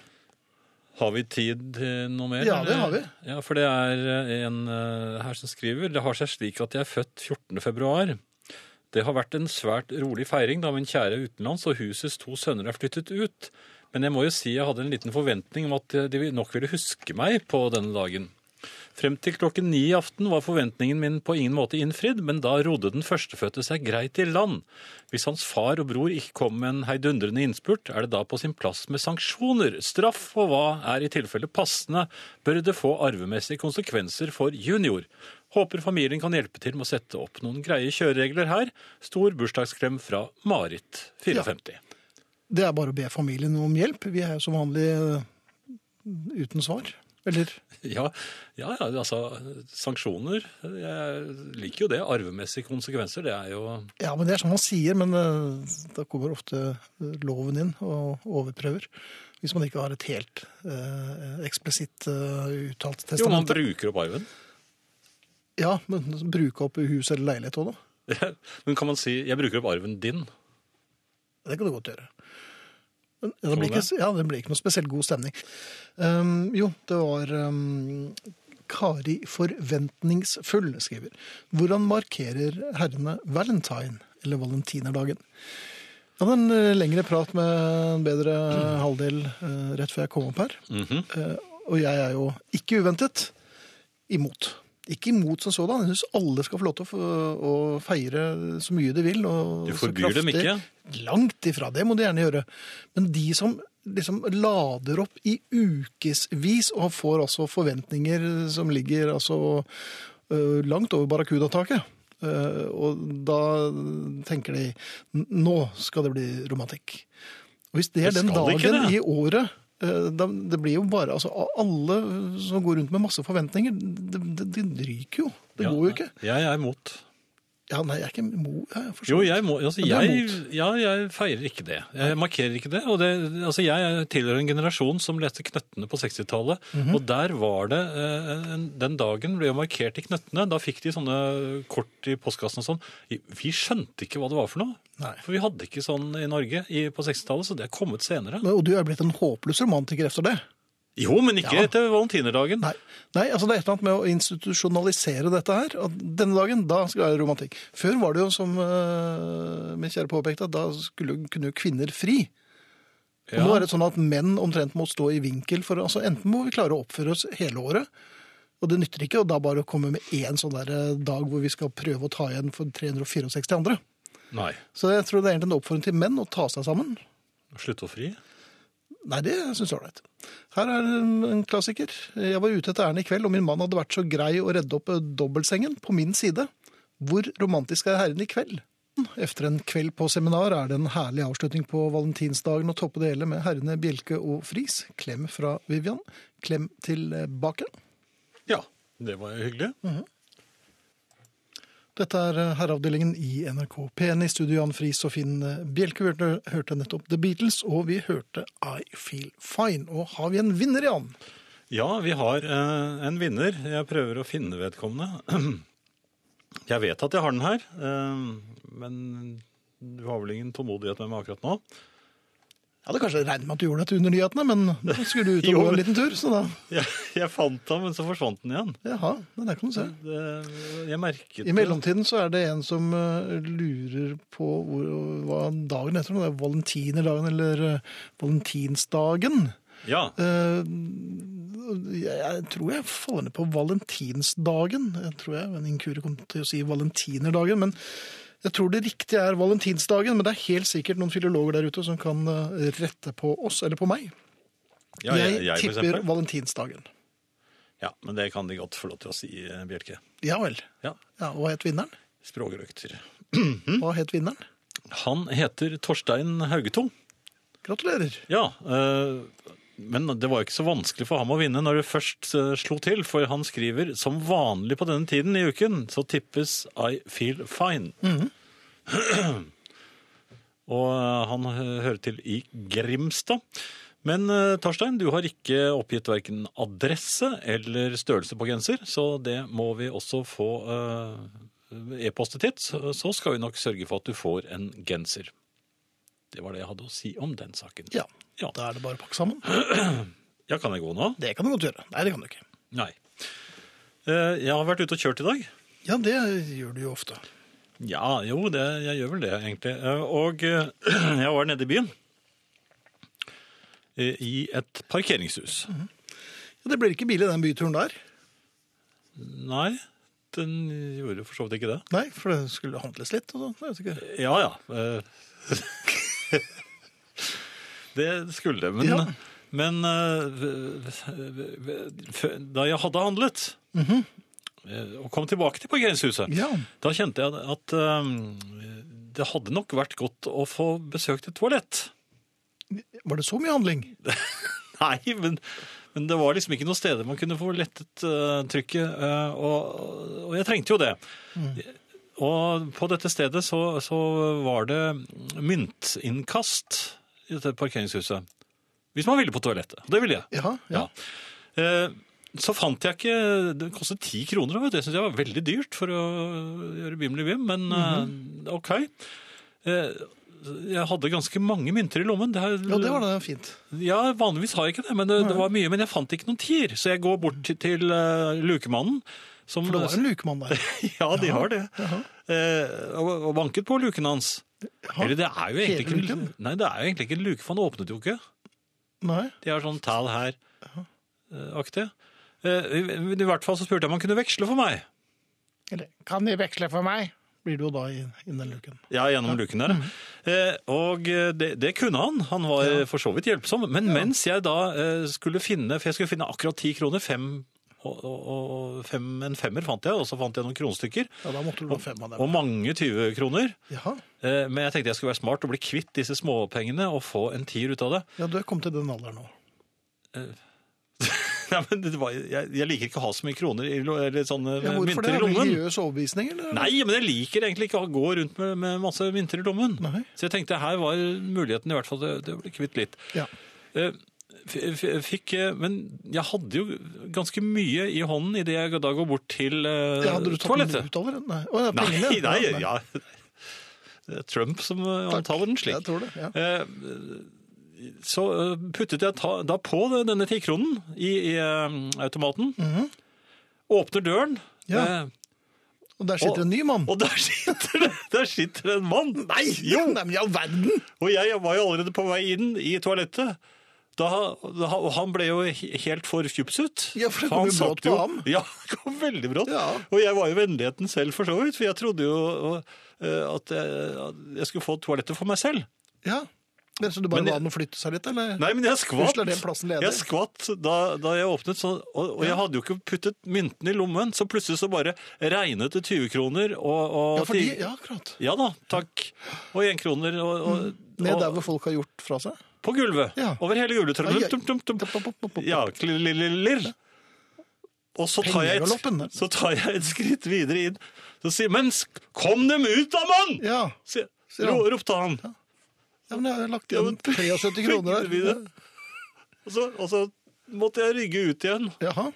Har vi tid til noe mer?
Ja, det
eller?
har vi.
Ja, For det er en eh, her som skriver Det har seg slik at jeg er født 14. februar. Det har vært en svært rolig feiring da min kjære er utenlands og husets to sønner er flyttet ut. Men jeg må jo si jeg hadde en liten forventning om at de nok ville huske meg på denne dagen. Frem til klokken ni i aften var forventningen min på ingen måte innfridd, men da rodde den førstefødte seg greit i land. Hvis hans far og bror ikke kom med en heidundrende innspurt, er det da på sin plass med sanksjoner. Straff og hva er i tilfelle passende, bør det få arvemessige konsekvenser for junior. Håper familien kan hjelpe til med å sette opp noen greie kjøreregler her. Stor bursdagsklem fra Marit, 54.
Det er bare å be familien om hjelp. Vi er jo som vanlig eh, uten svar. Eller,
Ja, ja, ja altså sanksjoner. Jeg liker jo det. Arvemessige konsekvenser, det er jo
ja, men det er sånn man sier, men eh, da kommer ofte eh, loven inn og overprøver. Hvis man ikke har et helt eh, eksplisitt eh, uttalt
Jo, man
testament.
bruker opp arven.
Ja, men bruke opp hus eller leilighet også da.
Men kan man si 'jeg bruker opp arven din'?
Det kan du godt gjøre. Men det blir
du
ikke, ja, det blir ikke noe spesielt god stemning. Um, jo, det var um, Kari Forventningsfull skriver. Hvordan markerer herrene valentine, eller valentinerdagen? Jeg hadde en eh, lengre prat med en bedre
Mhm.
Eh, halvdel eh, rett før jeg kom opp her. Eh, og jeg er jo ikke uventet imot. Ikke imot som sådan. Jeg syns alle skal få lov til å, få- å feire så mye de vil. Og
Du
så
forbyr dem
kraftig.
ikke?
Langt ifra. Det må de gjerne gjøre. Men de som liksom lader opp i ukevis og får altså forventninger som ligger altså øh, langt over barracuda-taket øh, Og da tenker de "N- nå skal det bli romantikk. Og hvis det er
Det
den
skal ikke
dagen i
det.
året eh, da- det blir jo bare, altså a- Alle som går rundt med masse forventninger, det, det, det ryker jo. Det
Ja,
går jo ikke.
Jeg er imot.
Ja, nei, jeg er ikke mo... Jeg forstår.
Jo, jeg, må, altså,
Ja, du er
jeg, ja, jeg feirer ikke det. Jeg markerer ikke det. Og det altså, jeg tilhører en generasjon som leste Knøttene på 60-tallet. Og der var det eh, en- Den dagen ble jo markert i Knøttene. Da fikk de sånne kort i postkassen og sånn. Vi skjønte ikke hva det var for noe.
Nei.
For vi hadde ikke sånn i Norge i, på 60-tallet, så det er kommet senere.
Men- Og du er blitt en håpløs romantiker efter det.
Jo, men ikke
Ja.
etter valentinerdagen.
Nei. Nei, altså det er et eller annet med å institusjonalisere dette her. At denne dagen, da skal det være romantikk. Før var det jo, som eh, min kjære påpekte, da skulle, kunne jo kvinner fri. Og
Ja.
Nå er det sånn at menn omtrent må stå i vinkel. for altså Enten må vi klare å oppføre oss hele året, og det nytter ikke, og da bare å komme med én sånn der eh, dag hvor vi skal prøve å ta igjen for 364 andre.
Nei.
Så jeg tror det er egentlig en oppfordring til menn å ta seg sammen.
Slutt å fri.
Nei, det syns jeg er ålreit. Her er en en klassiker. Jeg var ute etter ærend i kveld, og min mann hadde vært så grei å redde opp eh, dobbeltsengen på min side. Hvor romantisk er herren i kveld? Efter en kveld på seminar er det en herlig avslutning på valentinsdagen å toppe det hele med herrene Bjelke og Friis. Klem fra Vivian. Klem eh, tilbake.
Ja, det var jo hyggelig.
Dette er eh, herreavdelingen i NRK P1 i studio Jan Friis og Finn eh, Bjelke. Vi hørte, hørte nettopp The Beatles, og vi hørte I Feel Fine. Og har vi en vinner, Jan?
Ja, vi har eh, en vinner. Jeg prøver å finne vedkommende. Jeg vet at jeg har den her, eh, men du har vel ingen tålmodighet med meg akkurat nå?
Jeg hadde kanskje regnet med at du gjorde dette under nyhetene, men nå skulle du ut og
Jo,
gå en
men-
liten tur, så da
Jeg, jeg fant den, men så forsvant den igjen.
Jaha, men der kan du se.
Det, jeg merket
I mellomtiden så er det en som eh, lurer på hvor, hva dagen heter, om det er valentinerdagen eller eh, valentinsdagen.
Ja,
Eh, jeg, jeg tror jeg faller ned på valentinsdagen. Jeg tror jeg en inkurie kom til å si valentinerdagen, men jeg tror det riktige er valentinsdagen. Men det er helt sikkert noen filologer der ute som kan eh, rette på oss, eller på meg.
ja jeg, jeg,
jeg
for
tipper
eksempel.
valentinsdagen.
Ja, men det kan de godt få lov til å si, eh, Bjelke.
Ja vel.
Ja,
Ja, og hva het vinneren?
språkrøkter.
Hva het vinneren?
Han heter Torstein Haugeto.
Gratulerer.
Ja, eh, men det var ikke så vanskelig for ham å vinne når det først eh, slo til, for han skriver som vanlig på denne tiden i uken, så tippes I feel fine. Og eh, han hø- hører til i Grimstad. Men eh, Tarstein, du har ikke oppgitt verken adresse eller størrelse på genser, så det må vi også få eh, e-postet ditt. Så så skal vi nok sørge for at du får en genser. Det var det jeg hadde å si om den saken.
Ja,
Ja.
da er det bare å pakke sammen.
Ja, kan jeg gå nå?
Det kan du godt gjøre. Nei, det kan du ikke.
Nei. Eh, Jeg har vært ute og kjørt i dag.
Ja, det gjør du jo ofte.
Ja, jo, det, jeg gjør vel det, egentlig. Eh, Og eh, jeg var nede i byen. eh, I et parkeringshus.
Ja, det blir ikke bil i den byturen der.
Nei, den gjorde for så vidt ikke det.
Nei, for det skulle handles litt. Og sånn. Jeg vet ikke.
Ja, ja. eh, det skulle det, men,
Ja.
men eh, v- v- f- da jeg hadde handlet eh, og kom tilbake til parkeringshuset,
Mhm. Ja.
da kjente jeg at eh, det hadde nok vært godt å få besøkt et toalett.
Var det så mye handling?
Nei, men, men det var liksom ikke noen steder man kunne få lettet eh, trykket, eh, og, og jeg trengte jo det. Og på dette stedet så, så var det myntinnkast i dette parkeringshuset. Hvis man ville på toalettet. og Det ville jeg.
Ja, ja.
Eh, Så fant jeg ikke Det kostet ti kroner. Vet du. Jeg syntes det var veldig dyrt for å gjøre bimli bim, men eh,
Mhm.
OK. Eh, Jeg hadde ganske mange mynter i lommen. her-
Ja, det var da fint.
ja, vanligvis har jeg ikke det, men det, det var mye. Men jeg fant ikke noen tier, så jeg går bort til, til eh, lukemannen. Som,
For det var en lukemann der.
Ja, de har det. Eh, og, og banket på luken hans.
Jaha.
Eller det er jo
Hele
egentlig ikke,
luken?
nei, det er jo egentlig ikke en luke, for han åpnet jo ikke.
Nei.
De har sånn tall her-aktig. Eh, i- I hvert fall så spurte jeg om han kunne veksle for meg.
Eller kan de veksle for meg? Blir det jo da i- innen den luken.
Ja, gjennom luken der.
Mm.
Eh, Og eh, det, det kunne han. Han var eh, for så vidt hjelpsom. Men mens jeg da eh, skulle finne For jeg skulle finne akkurat ti kroner. Fem, og, og, og fem, en femmer fant jeg, og så fant jeg noen kronestykker.
Ja, da måtte du ha fem av dem.
Og mange 20 kroner.
Jaha.
Eh, Men jeg tenkte jeg skulle være smart og bli kvitt disse småpengene og få en tier ut av det.
Ja, du er kommet til den alderen nå.
Nei, men det var, jeg, jeg liker ikke å ha så mye kroner i lo- eller sånne
Ja, hvorfor
mynter
det? Er
i
det
lommen.
Religiøs overbevisning, eller?
Nei, men jeg liker egentlig ikke å gå rundt med, med masse mynter i lommen.
Nei.
Så jeg tenkte her var muligheten i hvert fall til til å bli kvitt litt.
Ja.
Eh, f- f- Fikk, eh, men jeg hadde jo ganske mye i hånden idet jeg da går bort til eh,
Ja, hadde du tatt den
toalettet.
ut over? Nei, Å, ja,
Nei,
pengene. Ja,
nei, ja. Det er Trump som eh, omtaler den slik.
Jeg tror det, ja.
Eh, Så eh, puttet jeg ta, da på det- denne tikronen i, i eh, automaten. Åpner døren,
Mhm. Ja.
eh,
Og der sitter en ny mann.
og der sitter, det, der sitter det en mann! Nei,
Jo, nei, men i all verden!
Og jeg var jo allerede på vei inn i toalettet. Da, da, og han ble jo he- helt forfjupset.
Ja, for det
han
kom jo brått
satt
på
jo-
ham.
Ja, det kom veldig brått.
Ja.
Og jeg var jo vennligheten selv for så vidt, for jeg trodde jo og, eh, at jeg, at jeg skulle få toalettet for meg selv.
Ja. Men Så du bare
Men jeg-
ba den å flytte seg litt, eller?
Nei, men jeg skvatt.
Pusler den plassen ledig?
Jeg skvatt da, da jeg åpnet, så, og, og jeg hadde jo ikke puttet mynten i lommen, så plutselig så bare regnet det 20 kroner og, og
Ja, fordi,
ti-
ja, akkurat.
Ja da, takk. Og 1 kroner og, og,
Mm. Ned der
og,
hvor folk har gjort fra seg.
på gulvet.
Ja.
Over hele
Ai, ai.
juletrommen. Tum, tum, tum.
Pop, pop, pop, pop.
Ja, klirr. Og så tar, jeg
Pengegaloppen.
et, så tar jeg et skritt videre inn. Så sier Men sk- kom dem ut da, mann!
Ja.
Sier-
Sier han.
ro- ropte han.
ja, sånn men jeg har lagt
Ja,
igjen
men-
73 kroner
Vi
der.
det. Og så, og så måtte jeg rygge ut igjen.
Jaha.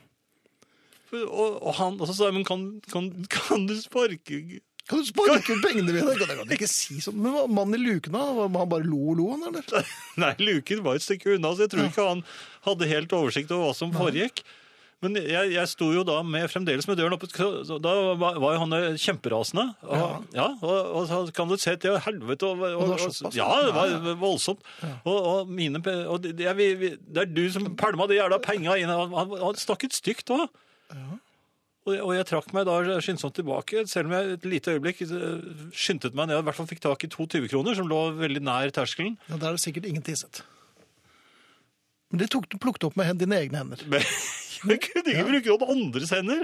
Og, og, han, og så sa jeg, men kan, kan, kan du sparke
Kan du sparke ut pengene mine? Det kan du ikke si sånn. Men hva- mannen i luken, da? Var- Han bare lo og lo, han, eller?
Nei, luken var et stykke unna, så jeg tror ikke han hadde helt oversikt over hva som foregikk. Men jeg, jeg sto jo da med, fremdeles med døren oppe, så- så da var var jo han eh, kjemperasende. Og, ja. og, og så kan du se til helvete.
Og
Og, og, og,
det var såpass,
ja, det var voldsomt. Og, og mine, pe- og det, jeg, vi, vi, det er du som pælma de jævla penga inn. Han, han, han snakket stygt òg. Og, og jeg trakk meg da skyndsomt tilbake, selv om jeg et lite øyeblikk eh, skyndte meg ned og i hvert fall fikk tak i to 20-kroner som lå veldig nær terskelen.
Ja, der er det sikkert ingen tisset. Men det tok du plukket opp med hen- dine egne hender.
Men jeg kunne ikke bruke noen andres hender.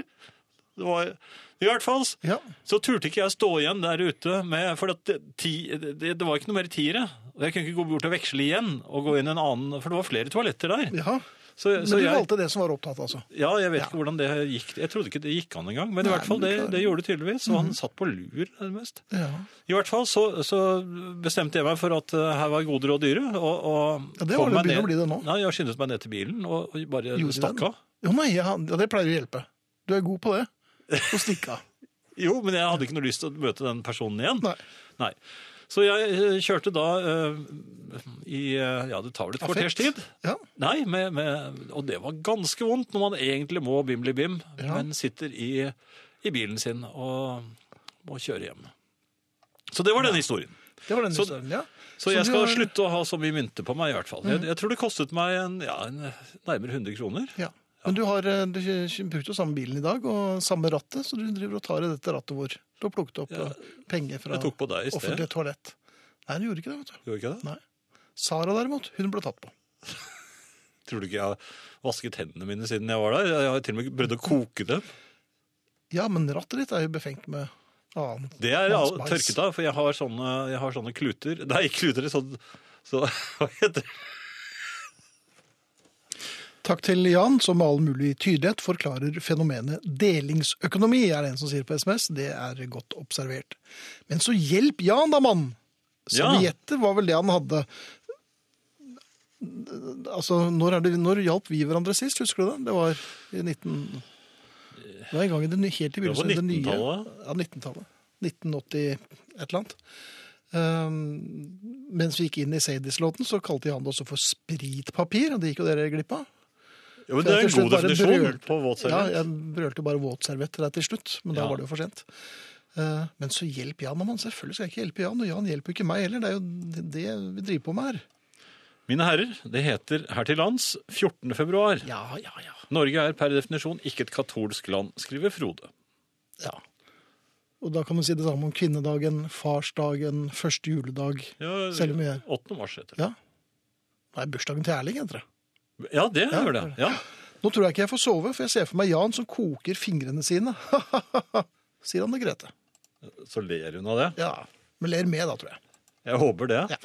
Det var, I hvert fall
Ja.
så turte ikke jeg stå igjen der ute, med, for at det, ti, det, det var ikke noe mer tiere. Og jeg kunne ikke gå bort og veksle igjen, og gå inn i en annen, for det var flere toaletter der.
Jaha.
Så,
Men
så
du
jeg,
valgte det som var opptatt, altså.
ja, jeg vet ikke hvordan det gikk. Jeg trodde ikke det gikk an engang, men i
Nei,
hvert fall
men
det,
det Mhm. klarer
det gjorde det tydeligvis, og han satt på lur nærmest.
Ja.
I hvert fall så, så bestemte jeg meg for at eh, her var goder og dyre, og, og
Ja, det var
kom
det
meg
begynner å
ned-
bli det nå.
Nei, jeg skyndet meg ned til bilen, og, og bare
Gjorde du
stakk
den?
av.
Jo, nei, jeg, har- ja, det pleier å hjelpe. Du er god på det. Å stikke av.
Jo, men jeg hadde ikke noe lyst til å møte den personen igjen.
Nei.
Nei. Så jeg eh, kjørte da eh, i eh, Ja, det tar vel et
Affekt.
kvarters tid.
Ja.
Nei, med, med, og det var ganske vondt når man egentlig må bimli-bim,
Ja.
men sitter i, i bilen sin og må kjøre hjem. Så det var den historien.
Det var den
Så-
historien, ja.
Så,
Så
jeg
du
skal
har- Mm.
slutte å ha så mye mynter på meg, i hvert fall. Jeg, jeg tror det kostet meg en, ja, en, nærmere 100 kroner.
ja. Men du har eh, du kj- brukte jo samme bilen i dag, og samme rattet, så du driver og tar i dette rattet vår. Du har plukket opp eh, penger fra
Jeg tok på deg i sted.
offentlig toalett. Nei, du gjorde ikke det, vet du.
Gjorde ikke det?
Nei. Sara derimot, hun ble tatt på.
Tror du ikke jeg har vasket hendene mine siden jeg var der? Jeg har til og med prøvd å koke dem.
Ja, men rattet ditt er jo befengt med annen
Det er all-
mannsbajs.
tørket av, for jeg har sånne, jeg har sånne kluter. Nei, ikke kluter, sånn, så, hva heter det?
Takk til Jan, som med all mulig tydelighet forklarer fenomenet delingsøkonomi, er det en som sier på SMS. Det er godt observert. Men så hjelp Jan da, mann!
Ja.
Servietter var vel det han hadde. Altså, når, er det, når hjalp vi hverandre sist, husker du det? Det var i 19... Det var en gang i det, ny- helt i
var
begynnelsen. av nye-
19-tallet.
Ja, 19-tallet. 1980 et eller annet. Um, mens vi gikk inn i Sadies-låten, så kalte Jan det også for spritpapir, og det gikk jo dere glipp av.
Jo, men det er
Jeg
en
til
god
slutt bare
definisjon
brølte.
på våtserviett.
Ja, jeg brølte bare våtserviett til deg til slutt, men da
Ja.
var det jo for sent. Eh, Men så hjelp Jan og mann. Selvfølgelig skal jeg ikke hjelpe Jan, og Jan hjelper jo ikke meg heller. Det er jo det vi driver på med her.
Mine herrer, det heter her til lands 14. februar.
Ja, ja, ja.
Norge er per definisjon ikke et katolsk land, skriver Frode.
ja. Og da kan man si det samme om kvinnedagen, farsdagen, første juledag.
Ja,
Selv om vi er
8. mars heter det.
Ja. Nei, bursdagen til Erling, heter det.
Ja, det
Ja,
gjør det. Ja.
Nå tror jeg ikke jeg får sove, for jeg ser for meg Jan som koker fingrene sine. Sier han til Grete.
Så ler hun av det.
Ja, men ler med da, tror jeg.
Jeg håper det.
Ja.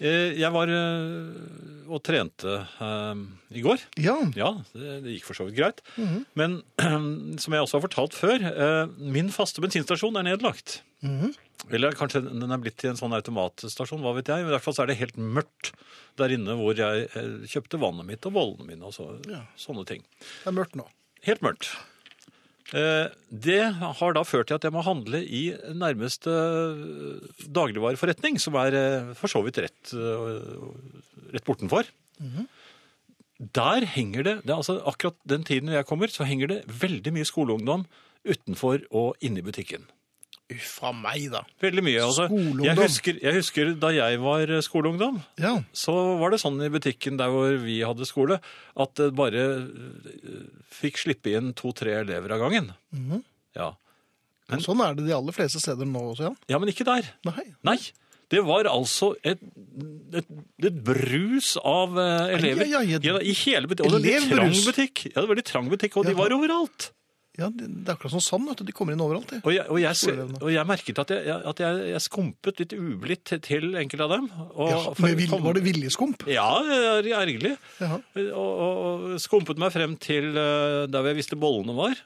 Eh, Jeg var eh, og trente eh, i går.
Ja,
Ja, det, det gikk for så vidt greit. Men som jeg også har fortalt før, eh, min faste bensinstasjon er nedlagt. Eller kanskje den den er blitt til en sånn automatstasjon, hva vet jeg. Men I hvert fall så er det helt mørkt der inne hvor jeg eh, kjøpte vannet mitt og bollene mine og så,
Ja.
sånne ting.
det er mørkt nå.
Helt mørkt. Eh, Det har da ført til at jeg må handle i nærmeste eh, dagligvareforretning, som er eh, for så vidt rett, eh, rett bortenfor. Der henger det, det er altså akkurat den tiden jeg kommer, så henger det veldig mye skoleungdom utenfor og inne i butikken.
Uffa meg, da.
Veldig mye. Altså, jeg,
Skoleungdom.
husker, jeg husker da jeg var skoleungdom,
Ja,
så var det sånn i butikken der hvor vi hadde skole, at det bare eh, fikk slippe inn to-tre elever av gangen.
Mhm.
ja. Men-
sånn er det de aller fleste steder nå også, Jan.
ja, men ikke der.
Nei.
Nei. Det var altså et, et, et brus av eh, elever
Ai, ai, ai, et-
Ja, i hele butikken. Og det var en trang
Elevbrus.
butikk. Ja, det var en trang butikk, og de
Jaha.
var overalt.
Ja, det det er akkurat som sand, vet du. De kommer inn overalt, de.
Og jeg, og jeg, s-
Skoleelevene.
og jeg merket at, jeg, jeg- at jeg, jeg skumpet litt ublidt til- til enkelte av dem. Og,
Ja,
for-
men vil, var det viljeskump?
Ja, jeg er ergerlig.
Jaha.
og, og og skumpet meg frem til eh, der hvor jeg visste bollene var.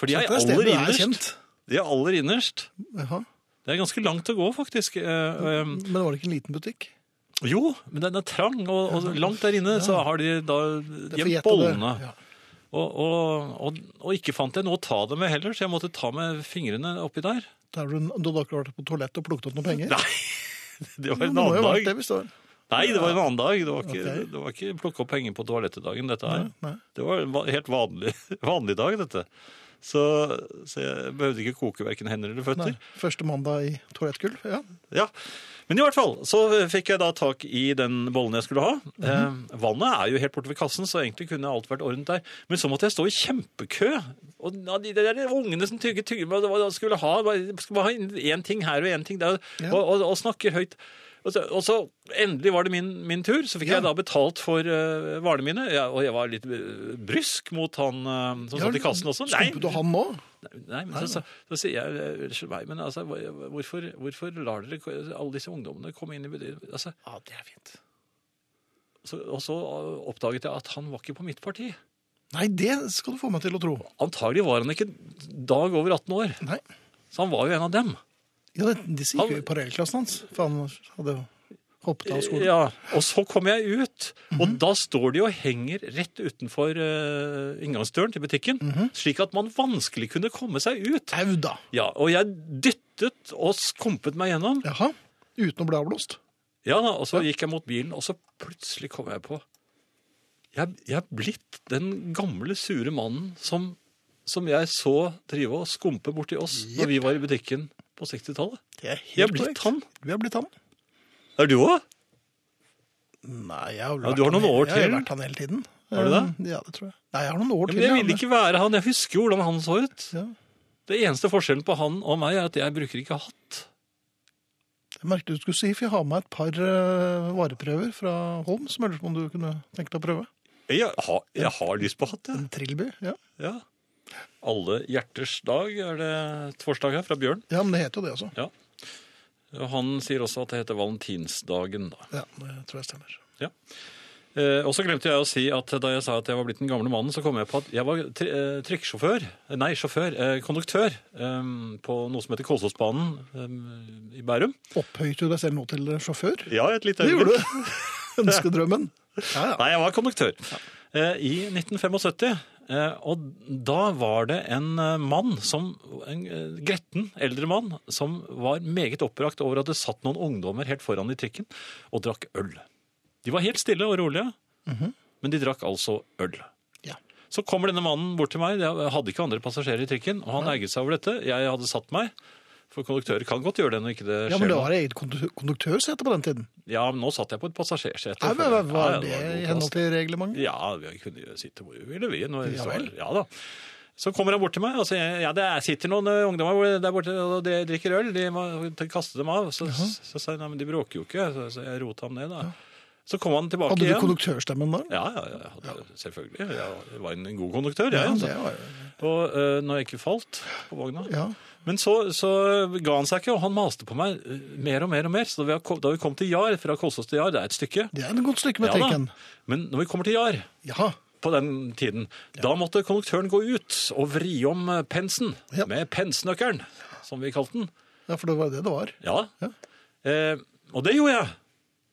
For de er
Dette er
aller
stedet jeg er
innerst.
kjent.
De er aller innerst.
Jaha.
Det er ganske langt å gå, faktisk. Eh, eh,
Men var det ikke en liten butikk?
Jo, men den er trang, og, og langt der inne så har de da
Det får
gjemt
gjette
bollene.
det. Ja.
Og, og, og, og ikke fant jeg noe å ta det med heller, så jeg måtte ta med fingrene oppi der.
Da har du, du hadde akkurat vært på toalettet og plukket opp noen penger?
Nei, det var
Men
en
det må jo
annen
ha vært det
dag.
hvis det var
Nei, det var en annen dag. Det var ikke,
Ok.
det var ikke plukke opp penger på toalettet-dagen, dette her.
Nei.
Det var en va- helt vanlig, vanlig dag, dette. Så, så jeg behøvde ikke koke verken hender eller føtter.
Nei. Første mandag i toalettgull? Ja.
Ja. Men i hvert fall så fikk jeg da tak i den bollen jeg skulle ha. eh, vannet er jo helt borte ved kassen, så egentlig kunne alt vært ordnet der. Men så måtte jeg stå i kjempekø. Og ja, de der ungene som tygger tygger meg, det var- jeg skulle ha bare- skulle ha én ting her og én ting der,
Ja.
og, og, og snakker høyt. Og så, og så endelig var det min, min tur. Så fikk
Ja.
jeg da betalt for eh, varene mine. Jeg, og jeg var litt eh, brysk mot han eh, som
Ja,
satt i kassen også. Nei,
Skumpet du han nå?
Nei, men så, så, så sier jeg eh, Unnskyld meg, men altså, hvor- hvorfor, hvorfor lar dere ko- alle disse ungdommene komme inn i bedriften? Altså,
Ja, det er fint.
så, og så eh, oppdaget jeg at han var ikke på mitt parti.
Nei, det skal du få meg til å tro.
Antagelig var han ikke dag over 18 år,
Nei.
så han var jo en av dem.
Ja, det, Disse gikk jo
Han-
i parallellklassen hans, for han hadde jo hoppet av skolen.
Ja, og så kom jeg ut, og da står de og henger rett utenfor eh, inngangsdøren til butikken, slik at man vanskelig kunne komme seg ut.
Au, da!
Ja, og jeg dyttet og skumpet meg gjennom.
Jaha. Uten å bli avblåst?
Ja da, og så gikk jeg mot bilen, og så plutselig kom jeg på Jeg, jeg er blitt den gamle, sure mannen som, som jeg så drive og skumpe borti oss da vi var i butikken på 60-tallet.
Det er
Jeg er blitt han.
Du er blitt han.
Er du òg?
Nei, jeg har
Ja,
vært
du har
han
noen
hele-
år
Jeg
til.
har vært han hele tiden. Um,
Har du det?
Ja, det tror jeg. Nei, jeg har noen år
Ja,
til.
men jeg
ja,
ville ikke være han. Jeg husker jo hvordan han så ut.
Ja.
Det eneste forskjellen på han og meg er at jeg bruker ikke hatt.
Jeg merket du skulle si, for jeg har med et par eh, vareprøver fra Holm, som ellers om du kunne tenke deg å prøve.
Jeg har, jeg har lyst på hatt, jeg.
Trillby, ja.
Ja. Alle hjerters dag er det torsdag her, fra Bjørn.
Ja, men det heter jo det også.
Ja. Og Han sier også at det heter valentinsdagen, da.
Ja, det tror jeg stemmer.
Ja. Eh, og så glemte jeg å si at da jeg sa at jeg var blitt den gamle mannen, så kom jeg på at jeg var tri eh, trikksjåfør, eh, nei, sjåfør, eh, konduktør, eh, på noe som heter Kolsåsbanen eh, i Bærum.
Opphøyte du deg selv nå til sjåfør?
Ja, et lite
Det gjorde du. Ønskedrømmen. Ja, ja.
Nei, jeg var konduktør. Eh, I 1975. eh, Og da var det en eh, mann, som, en eh, gretten eldre mann, som var meget oppbrakt over at det satt noen ungdommer helt foran i trikken og drakk øl. De var helt stille og rolige, men de drakk altså øl.
Ja.
Så kommer denne mannen bort til meg, jeg hadde ikke andre passasjerer i trikken, og han egget seg over dette. Jeg hadde satt meg. For konduktører kan godt gjøre det når ikke det skjer
Ja, men det
noe.
var eget kondu- konduktørsete på den tiden.
Ja, men nå satt jeg på et passasjersete.
Nei, men
for-
Var
Ja,
det
ja, var
i
god plass.
henhold til reglementet?
Ja, vi kunne jo sitte hvor vi ville, vi. Når vi
Ja
så-
vel.
ja da. Så kommer han bort til meg, og sier ja, det er- sitter noen eh, ungdommer hvor- der borte og de drikker øl. De må de kaste dem av. Så, så sa jeg nei, men de bråker jo ikke. Så, så jeg rota ham ned, da. Så kom han tilbake
Hadde du
igjen.
konduktørstemmen da?
Ja, ja, ja, jeg hadde, selvfølgelig. Jeg var en en god konduktør, jeg.
Ja,
altså.
det var jo...
Og eh, når jeg ikke falt på vogna.
Ja.
Men så, så ga han seg ikke, og han maste på meg eh, mer og mer og mer. Så da vi, har kom- da vi kom til Jar, fra Kolsås til Jar, det er et stykke.
Det er et godt stykke med
Ja da.
tenken.
Men når vi kommer til Jar,
Ja,
på den tiden, da måtte konduktøren gå ut og vri om eh, pensen
Ja.
med pensnøkkelen, som vi kalte den.
ja, for det var det det var.
Ja.
Ja.
Eh, og det gjorde jeg.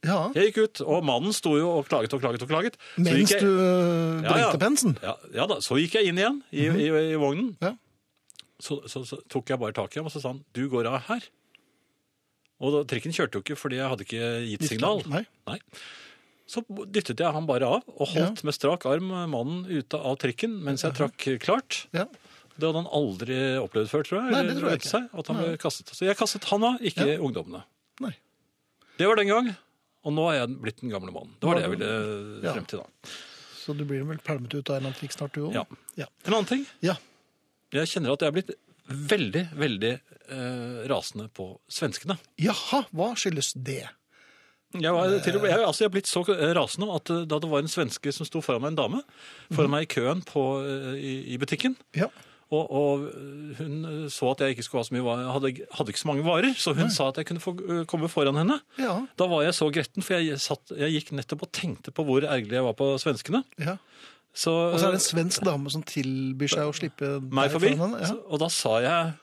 Ja,
Jeg gikk ut, og mannen sto jo og klaget og klaget og klaget. Så
mens
gikk jeg-
du øh,
Ja,
brengte
ja.
pensen.
Ja, ja da, så gikk jeg inn igjen i, i, i
Mhm.
vognen.
Ja.
Så, så, så tok jeg bare tak i ham og så sa han, du går av her. Og da, trikken kjørte jo ikke fordi jeg hadde ikke gitt signal.
Nei.
Nei. Så dyttet jeg ham bare av og holdt med strak arm mannen ute av trikken mens jeg trakk klart.
Ja.
Det hadde han aldri opplevd før, tror jeg.
Nei, det
eller
tror jeg
vet
ikke.
Seg, at han ble kastet. Så jeg kastet han av, ikke ungdommene.
Nei.
Det var den gang, og nå er jeg blitt den gamle mannen. Det var det jeg ville
Ja.
frem til da.
Så du blir vel pælmet ut av en eller annen trikk snart, du òg?
Ja.
Ja.
En annen ting,
ja.
jeg kjenner at jeg er blitt veldig, veldig eh, rasende på svenskene.
Jaha, hva skyldes det?
Jeg, var, til, og med- jeg, altså, jeg er blitt så rasende at eh, da det var en svenske som sto foran meg, en dame, foran meg i køen på, eh, i, i butikken,
Ja.
og, og eh, hun så at jeg ikke skulle ha så mye varer, hadde, hadde ikke så mange varer, så hun sa at jeg kunne få eh, komme foran henne.
Ja.
Da var jeg så gretten, for jeg, satt, jeg gikk nettopp og tenkte på hvor ergerlig jeg var på svenskene.
ja.
Så,
Og så er det en svensk dame som tilbyr seg å slippe deg
Eh, meg forbi.
foran henne.
Så- Og da sa jeg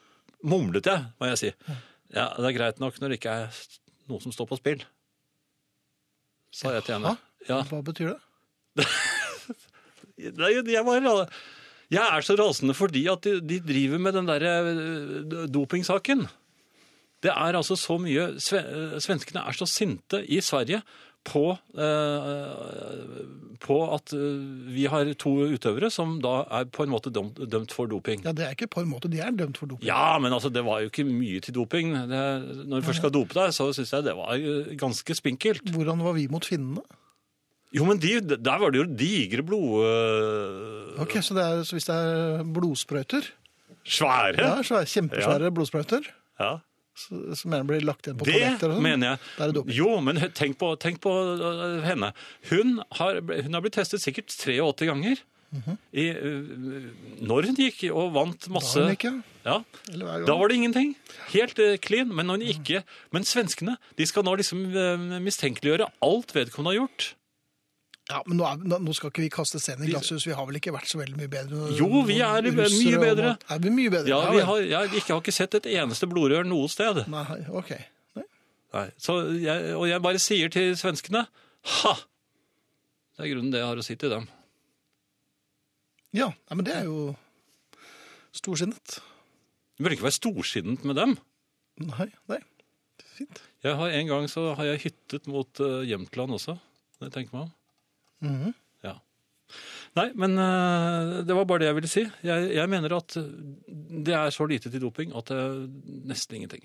Mumlet jeg, må jeg si. Ja, det er greit nok når det ikke er noe som står på spill. Sa jeg til henne.
Jaha.
Ja,
Ja. Hva betyr det?
Nei, jeg var ra- Jeg er så rasende fordi at de, de driver med den der eh, dopingsaken. Det er altså så mye sve, eh, Svenskene er så sinte i Sverige på, eh, på at eh, vi har to utøvere som da er på en måte dømt, dømt for doping.
Ja, Det er ikke på en måte de er dømt for doping.
Ja, men altså, det var jo ikke mye til doping. Det, når du først skal dope deg, så syns jeg det var eh, ganske spinkelt.
Hvordan var vi mot finnene?
Jo, men de, der var det jo digre blod... eh,
Ok, så, det er, så hvis det er blodsprøyter,
Svære!
ja, så er det kjempesvære blodsprøyter
Ja.
så- som gjerne blir lagt igjen på
Det
toaletter og sånn. Da
mener
er det
jeg.
doping.
Jo, men hø- tenk på, tenk på øh, henne. Hun har, hun har blitt testet sikkert 83 ganger. I, øh, når hun gikk og vant masse
Da er det ikke,
ja,
eller hver gang.
da var det ingenting. Helt øh, clean. Men når hun ikke Men svenskene de skal nå liksom øh, mistenkeliggjøre alt vedkommende har gjort.
Ja, men nå, er, nå- nå skal ikke vi kaste scenen i glasshus. Vi har vel ikke vært så veldig mye bedre?
Jo, vi er
Russere
mye
og-
bedre.
Er vi mye bedre?
Ja,
vel.
vi har, jeg ikke- har ikke sett et eneste blodrør noe sted.
Nei, ok. Nei.
Nei. Så jeg, og jeg bare sier til svenskene ha! Det er grunnen det jeg har å si til dem.
Ja, nei, men det er jo storsinnet.
Du burde ikke være storsinnet med dem.
Nei, nei. Fint.
Jeg har En gang så har jeg hyttet mot eh, Jämtland også. Det tenker man.
Mhm.
Ja. Nei, men eh, det var bare det jeg ville si. Jeg, jeg mener at det er så lite til doping at det er nesten ingenting.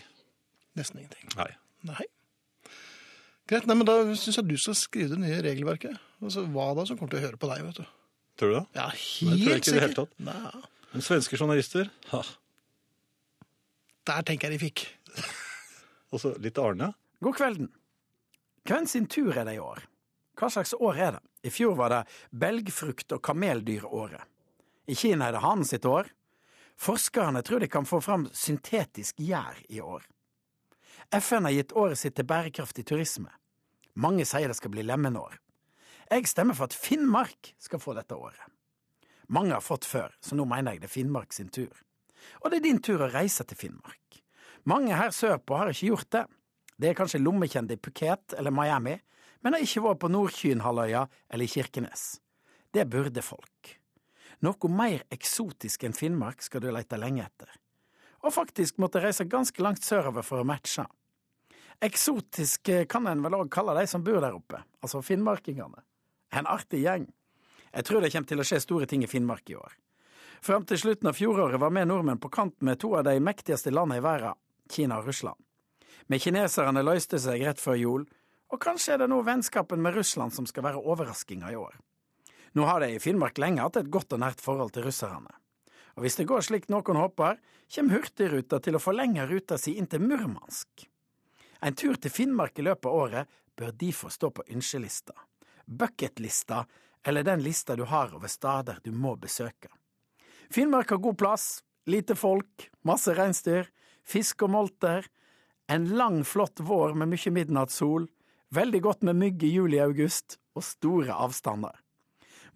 Nesten ingenting.
Nei.
Nei. Greit, nei, men da syns jeg du skal skrive det nye regelverket. Altså, hva da som kommer til å høre på deg, vet du.
Tror du det?
Ja,
jeg
helt
ikke i det hele
sikkert.
tatt.
Nei,
Men svenske journalister ha.
der tenker jeg de fikk.
Og så litt Arne.
God kvelden. Hvem sin tur er det i år? Hva slags år er det? I fjor var det belgfrukt- og kameldyråret. I Kina er det hanen sitt år. Forskerne tror de kan få fram syntetisk gjær i år. FN har gitt året sitt til bærekraftig turisme. Mange sier det skal bli lemenår. Jeg stemmer for at Finnmark skal få dette året. Mange har fått før, så nå mener jeg det er Finnmark sin tur. Og det er din tur å reise til Finnmark. Mange her sørpå har ikke gjort det. Det er kanskje lommekjente i Phuket eller Miami, men har ikke vært på Nordkynhalvøya eller i Kirkenes. Det burde folk. Noe mer eksotisk enn Finnmark skal du leite lenge etter. Og faktisk måtte reise ganske langt sørover for å matche. Eksotisk eh, kan en vel òg kalle de som bor der oppe, altså finnmarkingene. En artig gjeng. Jeg tror det kommer til å skje store ting i Finnmark i år. Fram til slutten av fjoråret var vi nordmenn på kant med to av de mektigste landene i verden, Kina og Russland. Med kineserne løste seg rett før jul, og kanskje er det nå vennskapen med Russland som skal være overraskinga i år. Nå har de i Finnmark lenge hatt et godt og nært forhold til russerne. Og hvis det går slik noen håper, kommer Hurtigruta til å forlenge ruta si inn til Murmansk. En tur til Finnmark i løpet av året bør derfor stå på ønskelista, bucketlista eller den lista du har over steder du må besøke. Finnmark har god plass, lite folk, masse reinsdyr, fisk og molter, en lang, flott vår med mye midnattssol, veldig godt med mygg i juli-august og store avstander.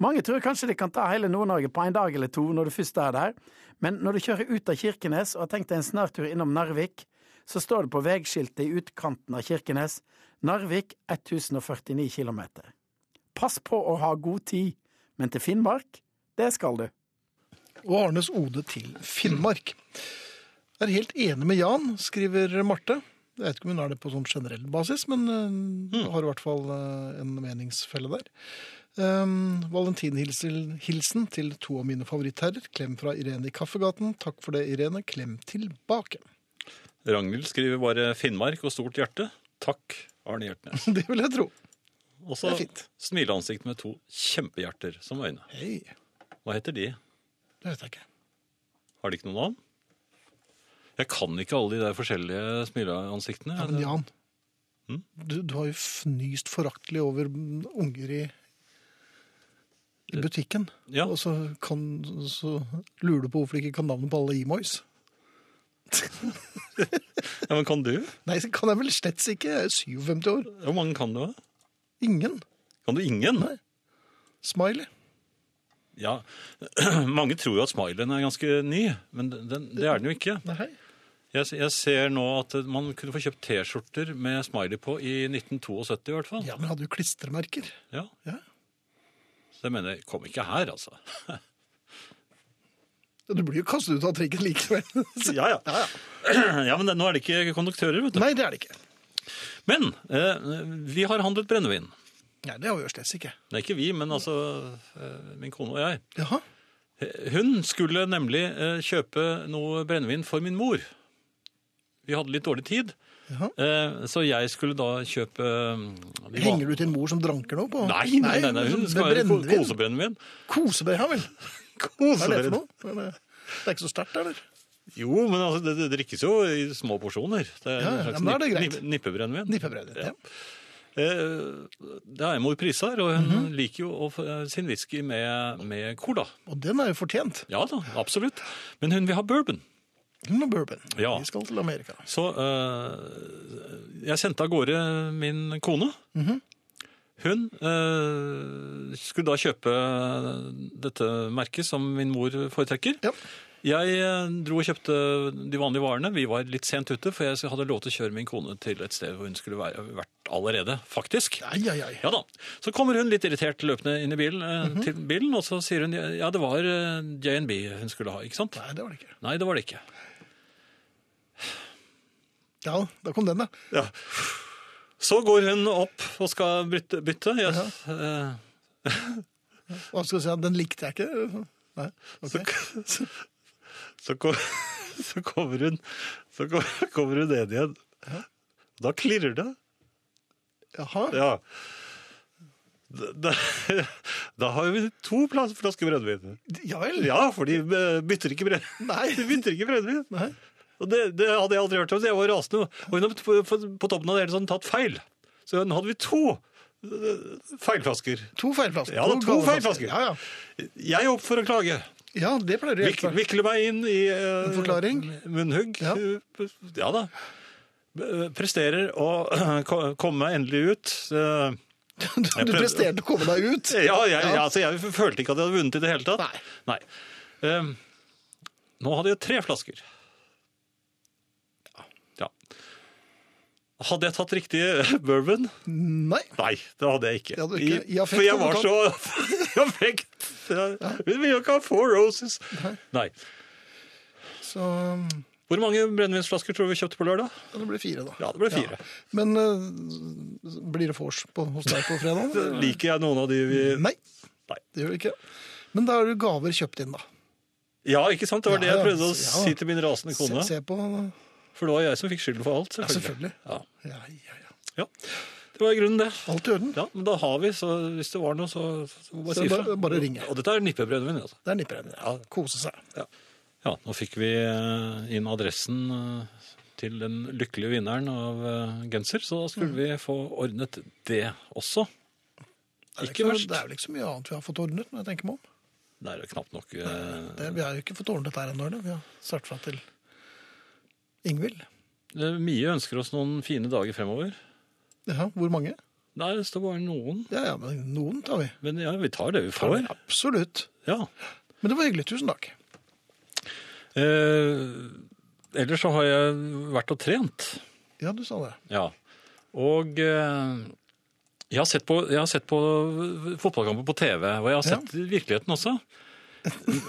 Mange tror kanskje de kan ta hele Nord-Norge på en dag eller to når du først er der, men når du kjører ut av Kirkenes og har tenkt deg en snartur innom Narvik, så står det på veiskiltet i utkanten av Kirkenes Narvik 1049 km. Pass på å ha god tid, men til Finnmark, det skal du.
Og Arnes ode til Finnmark. Jeg er helt enig med Jan, skriver Marte. Jeg vet ikke om hun har det på sånn generell basis, men eh, har i hvert fall eh, en meningsfelle der. Um, Valentinhilsen hilsen til to av mine favorittherrer. Klem fra Irene i Kaffegaten. Takk for det, Irene. Klem tilbake.
Ragnhild skriver bare 'Finnmark' og stort hjerte. Takk, Arne Hjertnes.
Det vil jeg tro.
Og så
Det er fint.
smileansikt med to kjempehjerter som øyne.
Hei,
Hva heter de?
det vet jeg ikke.
Har de ikke noe navn? Jeg kan ikke alle de der forskjellige smileansiktene.
Ja, men Jan,
Mm?
du, du har jo fnyst foraktelig over unger i, i butikken.
Ja.
Og så, kan, så lurer du på hvorfor de ikke kan navnet på alle Imoys.
ja, men kan du?
Nei, det kan jeg vel slett ikke. Jeg er 57 år.
Hvor mange kan du? da?
Ingen.
Kan du ingen?
Nei. Smiley.
Ja, Mange tror jo at smileyen er ganske ny, men den, det er den jo ikke.
Nei.
Jeg, jeg ser nå at man kunne få kjøpt T-skjorter med smiley på i 1972 i hvert fall.
Ja, men hadde jo klistremerker.
Ja.
Ja.
Så jeg mener, kom ikke her, altså.
Du blir jo kastet ut av trikken likevel.
Ja, ja. Ja, men det, nå er det ikke konduktører, vet du.
Nei, det er det ikke.
Men eh, vi har handlet brennevin.
Nei, det har vi jo slett ikke.
Nei, ikke vi, men altså eh, min kone og jeg.
Jaha.
Hun skulle nemlig eh, kjøpe noe brennevin for min mor. Vi hadde litt dårlig tid,
Jaha.
eh, så jeg skulle da kjøpe eh, de van-
Henger du til en mor som dranker nå på?
Nei, nei, nei, nei, hun
det
skal være ko-
brennevin.
kosebrennevin.
Kosebrød, ja vel. Hva er det for noe? Er det- Det er ikke så sterkt, eller?
Jo, men altså, det, det drikkes jo i små porsjoner. Det er
Ja,
en
ja,
slags
men da er det
nipp-
greit.
nipp- nippebrennevin.
Nippebrød. Ja.
Eh, det er mor Pris her, og hun liker jo å få, eh, sin whisky med, med cola.
Og den er jo fortjent.
Ja da, absolutt. Men hun vil ha bourbon.
Hun og bourbon.
Ja.
Vi skal til Amerika.
Så eh, jeg sendte av gårde min kone. Hun eh, skulle da kjøpe dette merket som min mor foretrekker.
Ja.
Jeg eh, dro og kjøpte de vanlige varene. Vi var litt sent ute, for jeg hadde lov til å kjøre min kone til et sted hvor hun skulle være, vært allerede, faktisk.
Ai, ai, ai.
Ja da. Så kommer hun litt irritert løpende inn i bilen, eh, til bilen, og så sier hun ja, det var eh, J&B hun skulle ha, ikke sant?
Nei, det var det ikke.
Nei, det var det ikke.
Ja, da kom den, da.
Ja. Så går hun opp og skal bytte. bytte. Jeg, eh,
Hva skal jeg si? ja, Den likte jeg ikke. Nei, ok.
så, så, kom, så kommer hun Så kom- kommer hun ned igjen. Da klirrer det.
Jaha.
Ja. Da, da, da har vi to plass- flasker brennevin.
Ja vel.
Ja, for de eh, bytter ikke brennevin.
Nei.
De bytter ikke brennevin.
Nei.
Og det, det hadde jeg aldri hørt om, så jeg var rasende. Og hun hadde på, på, på toppen av det hele sånn tatt feil. Så nå hadde vi to eh, feilflasker.
To feilflasker.
Ja, det er to
gale
feilflasker.
Ja, ja.
Jeg er opp for å klage.
ja, det pleier å
Vik,
hjelpe.
vikle meg inn i eh,
En forklaring?
munnhugg.
Ja.
Eh, ja da. Eh, Presterer å ko- komme meg endelig ut. Eh,
Du, du presterte å komme deg ut.
Ja, jeg, Altså, jeg følte ikke at jeg hadde vunnet i det hele tatt. Nei. Eh, nå hadde jeg tre flasker. Ja. Hadde jeg tatt riktig eh, bourbon?
Nei.
Nei, det hadde jeg ikke.
Det hadde du ikke.
I,
I affekt
for jeg var
hadde
så i affekt. Vi vil jo ikke ha four roses. Nei.
Så um,
Hvor mange brennevinsflasker tror du vi kjøpte på lørdag?
ja, det ble fire, da.
Ja, det ble fire.
Men uh, blir det vors på- hos deg på fredag?
Liker jeg noen av de vi
Nei.
Nei.
Det gjør det ikke. Men da har du gaver kjøpt inn, da.
Ja, ikke sant? Det var det
Ja,
jeg
ja.
prøvde å
Ja, da.
si til min rasende
Se,
kone.
se på
For det var jeg som fikk skylden for alt,
Ja,
selvfølgelig.
selvfølgelig.
Ja,
Ja, ja, ja.
ja. Det var i grunnen det.
Alt i orden.
Ja, men da har vi, så hvis det var noe, så, så må
Så
jeg si
bare-
ifra.
bare ringe.
Og dette er nippebrennevin, altså.
Der nipper den. Ja, kose seg.
Ja. ja, nå fikk vi eh, inn adressen eh, til den lykkelige vinneren av eh, genser, så da
Mm.
skulle vi få ordnet det også.
Det er,
Ikke
vel
verst.
det er vel ikke så mye annet vi har fått ordnet, når jeg tenker meg om.
Det er jo knapt nok eh,
Det, vi har jo ikke fått ordnet der ennå, eller? Vi har sagt fra til Ingvild.
eh, Mie ønsker oss noen fine dager fremover.
Ja, hvor mange?
Nei, det står bare noen.
Ja, ja, men noen tar vi.
Men ja, vi tar det vi får.
Absolutt.
Ja.
Men det var hyggelig. Tusen takk.
Eh, ellers så har jeg vært og trent.
Ja, du sa det.
Ja. Og eh, jeg, har sett på, jeg har sett på fotballkamper på TV, og jeg har
Ja.
sett virkeligheten også.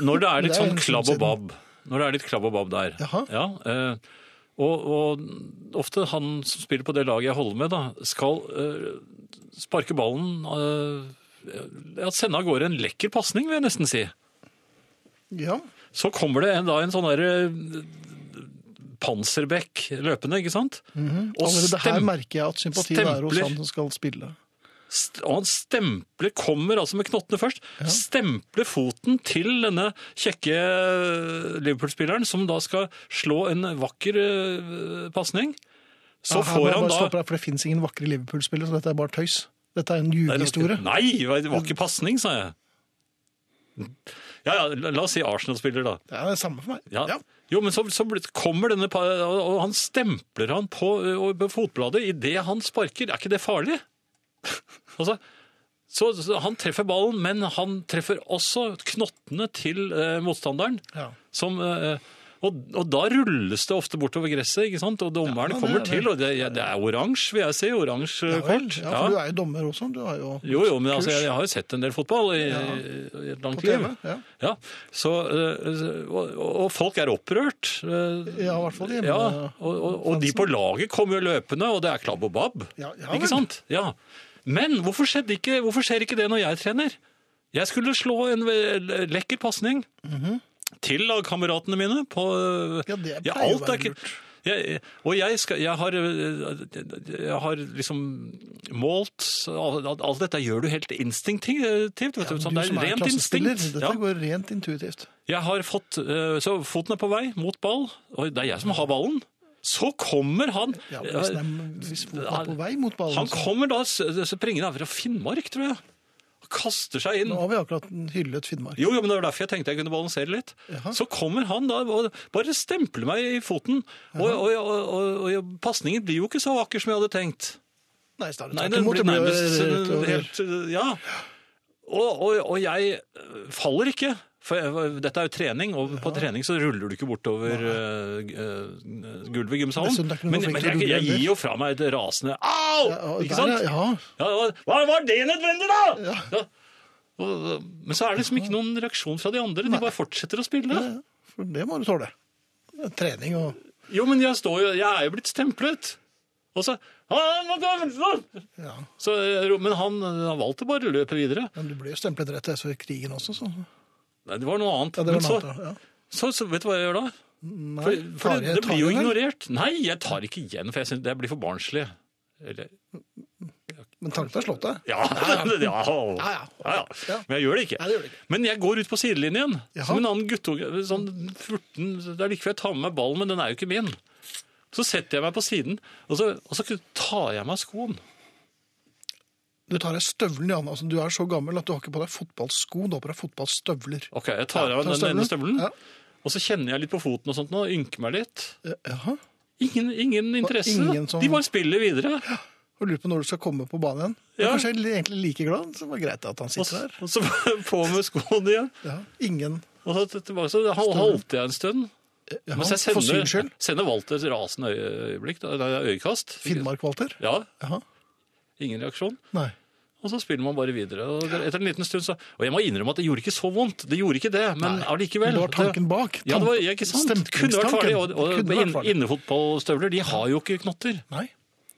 Når det er litt
Det er
sånn
en
klabb
stund
og babb. Når det er litt klabb og babb der.
Jaha.
Ja, eh, og, og ofte han som spiller på det laget jeg holder med, da, skal eh, sparke ballen eh, ja, Sende av gårde en lekker pasning, vil jeg nesten si.
Ja.
Så kommer det en, da en sånn derre Panserbekk løpende, ikke sant? Og
Mhm. Allerede her
stem-
merker jeg at sympatien er hos
stempler.
han som skal spille.
St- Og han stempler, kommer altså med knottene først, stempler foten til denne kjekke eh, Liverpool-spilleren, som da skal slå en vakker uh, pasning. Så
Ja, her må
får
jeg
han
bare stoppe
da
deg, For det fins ingen vakre Liverpool-spillere, så dette er bare tøys. Dette er en ljugehistorie.
Nei, det var ikke pasning, sa jeg. Ja, ja, la la oss si Arsenal-spiller, da.
Det er det samme for meg.
Ja. Jo, men så, så blir- kommer denne pa- Og og han stempler han på, ø, og på fotbladet idet han sparker. Er ikke det farlig? altså, så, så han treffer ballen, men han treffer også knottene til eh, motstanderen.
Ja.
Som, eh, og, og da rulles det ofte bortover gresset, ikke sant? og dommerne
Ja, det
kommer
er det.
til. Og det, ja, det er oransje, vil jeg si. Oransje
Ja, vel.
kort.
ja, for du er jo dommer også. Du har jo
Jo, jo, men altså,
kurs
jeg, jeg har jo sett en del fotball i, i et langt
på TV.
liv.
Ja.
Ja, så, eh, og, og folk er opprørt. eh,
Ja, i hvert fall hjemme-
Ja, og, og, og de på laget kommer jo løpende, og det er klabb og babb.
Ja, ja vel.
ikke sant? Ja. Men hvorfor, skjedde ikke, hvorfor skjer ikke det når jeg trener? Jeg skulle slå en ve- lekker pasning til lagkameratene mine på eh,
Mhm. Ja, det
ja,
pleier å
alt er
være
ikke...
lurt.
Jeg, og jeg, skal, jeg, har, eh, jeg har liksom målt Alt alt dette gjør du helt instinktivt. Vet du, sånn, det
du som
er
er
rent
klassespiller,
instinkt.
dette
Ja.
går rent intuitivt.
Jeg har fått, eh, så foten er på vei mot ball, og det er jeg som har ballen. Så kommer han Eh,
Ja, men hvis, den er, hvis foten er på vei mot ballen
Han
så-
kommer da, s- springende fra Finnmark, tror jeg. Og kaster seg inn.
Nå har vi akkurat hyllet Finnmark.
Jo, jo, men det var derfor jeg tenkte jeg kunne balansere litt.
Jaha.
Så kommer han da og bare stempler meg i foten. Og, og, og, og, og pasningen blir jo ikke så vakker som jeg hadde tenkt.
Nei, snarere
Nei,
tvert
den
imot,
blir
det ble
nærmest
rett
eh,
over.
helt eh, Ja. Og, og, og jeg eh, faller ikke. For jeg, dette er jo trening, og på trening så ruller du ikke bortover eh, g- eh, gulvet i gymsalen.
Dessuten er det ikke noe
Men,
flink
men
til å
jeg,
rulle
jeg gir
heller.
jo fra meg et rasende Au!
Ja, og der,
ikke sant?
Ja,
Ja, og, Hva var det nødvendig, da?! Ja. Og, men så er det liksom ikke noen reaksjon fra de andre. De bare fortsetter å spille.
ja, for det må du tåle. Trening og
Jo, men jeg, står jo, jeg er jo blitt stemplet. Og så
ja.
sånn!» så, eh, men han, han valgte bare å løpe videre.
Men du ble jo stemplet rett etter krigen også, så
Nei, det var noe annet.
ja, det var
Men
noe annet. da, Ja.
Så, så, så vet du hva jeg gjør da?
Nei,
For, for
tar
det,
jeg-
det
tar
blir jo
jeg den?
ignorert. Nei, jeg tar ikke igjen, for jeg synes det blir for barnslig. Eller,
Men tanken har slått deg.
ja, ja, ja, ja.
Ja.
Men jeg gjør det ikke.
Nei, det gjør du ikke.
Men jeg går ut på sidelinjen,
Jaha.
som en annen guttunge. Sånn 14, det er like før jeg tar med meg ballen, men den er jo ikke min. Så setter jeg meg på siden, og så, og så tar jeg meg skoen.
Du tar deg støvlen i hånda. Altså, du er så gammel at du har ikke på deg fotballsko, du har på deg fotballstøvler.
Ok, jeg tar
Ja, tar
av den ene
støvelen.
støvelen,
Ja.
og så kjenner jeg litt på foten og sånt nå, ynker meg litt.
Ja, eh, Jaha.
Ingen, ingen interesse.
ingen som-
De bare spiller videre.
Og lurer på når du skal komme på banen igjen. Du er
Ja.
Kanskje egentlig like glad, så det var greit at han
Og
sitter
så,
der.
og så på med skoene igjen.
Ja. Ingen
Og så tilbake, så hal- halte jeg en stund.
ja,
Mens jeg
For syns
sender,
skyld.
sender Walter et rasende øye- øyeblikk, da- nei, øyekast.
Finnmark-Walter?
Ja,
Jaha.
ingen reaksjon.
Nei.
Og så spiller man bare videre. Og etter en liten stund så Og jeg må innrømme at det gjorde ikke så vondt. Det gjorde ikke det, men allikevel.
Men det var tanken bak.
Ja, det var, ja, ikke sant? Det kunne vært farlig. Og, og
Det kunne vært
inn-
farlig.
innefotballstøvler, de har jo ikke knotter.
Nei,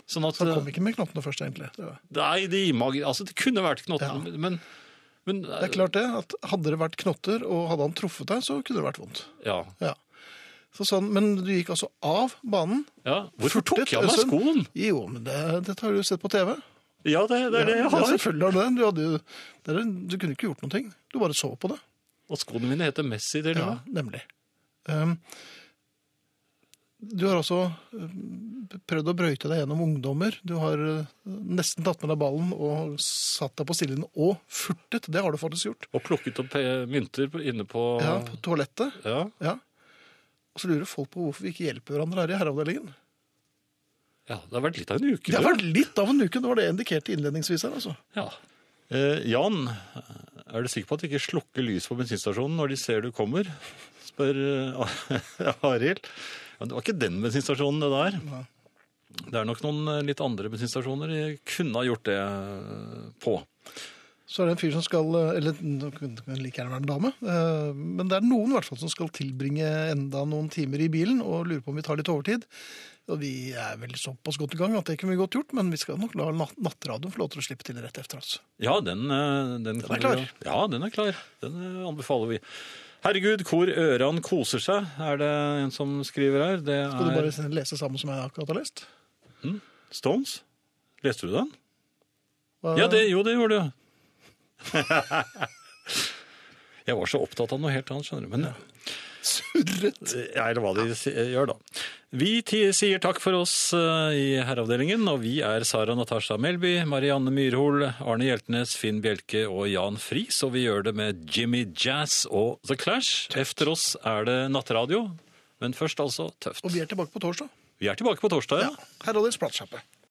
Sånn at
så han kom ikke med knottene først, egentlig. Det var-
Nei, de imag- Altså, det kunne vært knotter,
Ja.
men, men
Det er klart det, at hadde det vært knotter, og hadde han truffet deg, så kunne det vært vondt.
Ja.
Ja. Så sånn, men du gikk altså av banen.
Ja, Hvorfor tok
Furtet,
jeg av meg
Øystein.
skoen?
Jo, men det, dette har du sett på TV.
Mm. Ja, det, det er det jeg
Ja,
har.
selvfølgelig har du det. Du, hadde, jo- det er, du kunne ikke gjort noen ting. Du bare så på det.
Og skoene mine heter Messi, det
Ja,
ja.
nemlig. Um, du har også um, prøvd å brøyte deg gjennom ungdommer. Du har uh, nesten tatt med deg ballen og satt deg på stillingen og furtet. Det har du faktisk gjort.
Og plukket opp eh, mynter på- inne på
Ja, på toalettet.
ja.
Ja. Og så lurer folk på hvorfor vi ikke hjelper hverandre her i herreavdelingen.
Ja, det har vært litt av en uke.
Det har
du.
vært litt av en uke, det var det jeg indikerte innledningsvis her, altså.
Ja. Eh, Jan, er du sikker på at de ikke slukker lyset på bensinstasjonen når de ser du kommer? Spør eh, Arild. Ja, det var ikke den bensinstasjonen det der.
Nei.
Det er nok noen eh, litt andre bensinstasjoner de kunne ha gjort det eh, på.
Så er det en fyr som skal eh, Eller det kan kan like gjerne være en dame. eh, Men det er noen i hvert fall som skal tilbringe enda noen timer i bilen og lurer på om vi tar litt overtid. Og vi er vel såpass godt i gang at det kunne vi godt gjort, men vi skal nok la nat- nattradioen få lov til å slippe til rett etter oss.
Ja, den, eh, den, kan
er
vi
klar.
jo- Ja, den er klar. Den eh, anbefaler vi. Herregud, hvor øran koser seg, er det en som skriver her. Det
Skal du
er
bare lese sammen som jeg akkurat har lest?
Stones. Leste du den?
Hva-
Ja, det, jo, det gjorde du. jeg var så opptatt av noe helt annet, skjønner du. Men
Surret!
ja, eller eh, hva de si- gjør, da. Vi ti- sier takk for oss eh, i Herreavdelingen, og vi er Sara Natasha Melby, Marianne Myrhol, Arne Hjeltnes, Finn Bjelke og Jan Friis, og vi gjør det med Jimmy Jazz og The Clash. Efter oss er det nattradio, men først altså tøft.
Og vi er tilbake på torsdag.
Vi er tilbake på torsdag, ja.
Herreavdelingens platesjappe.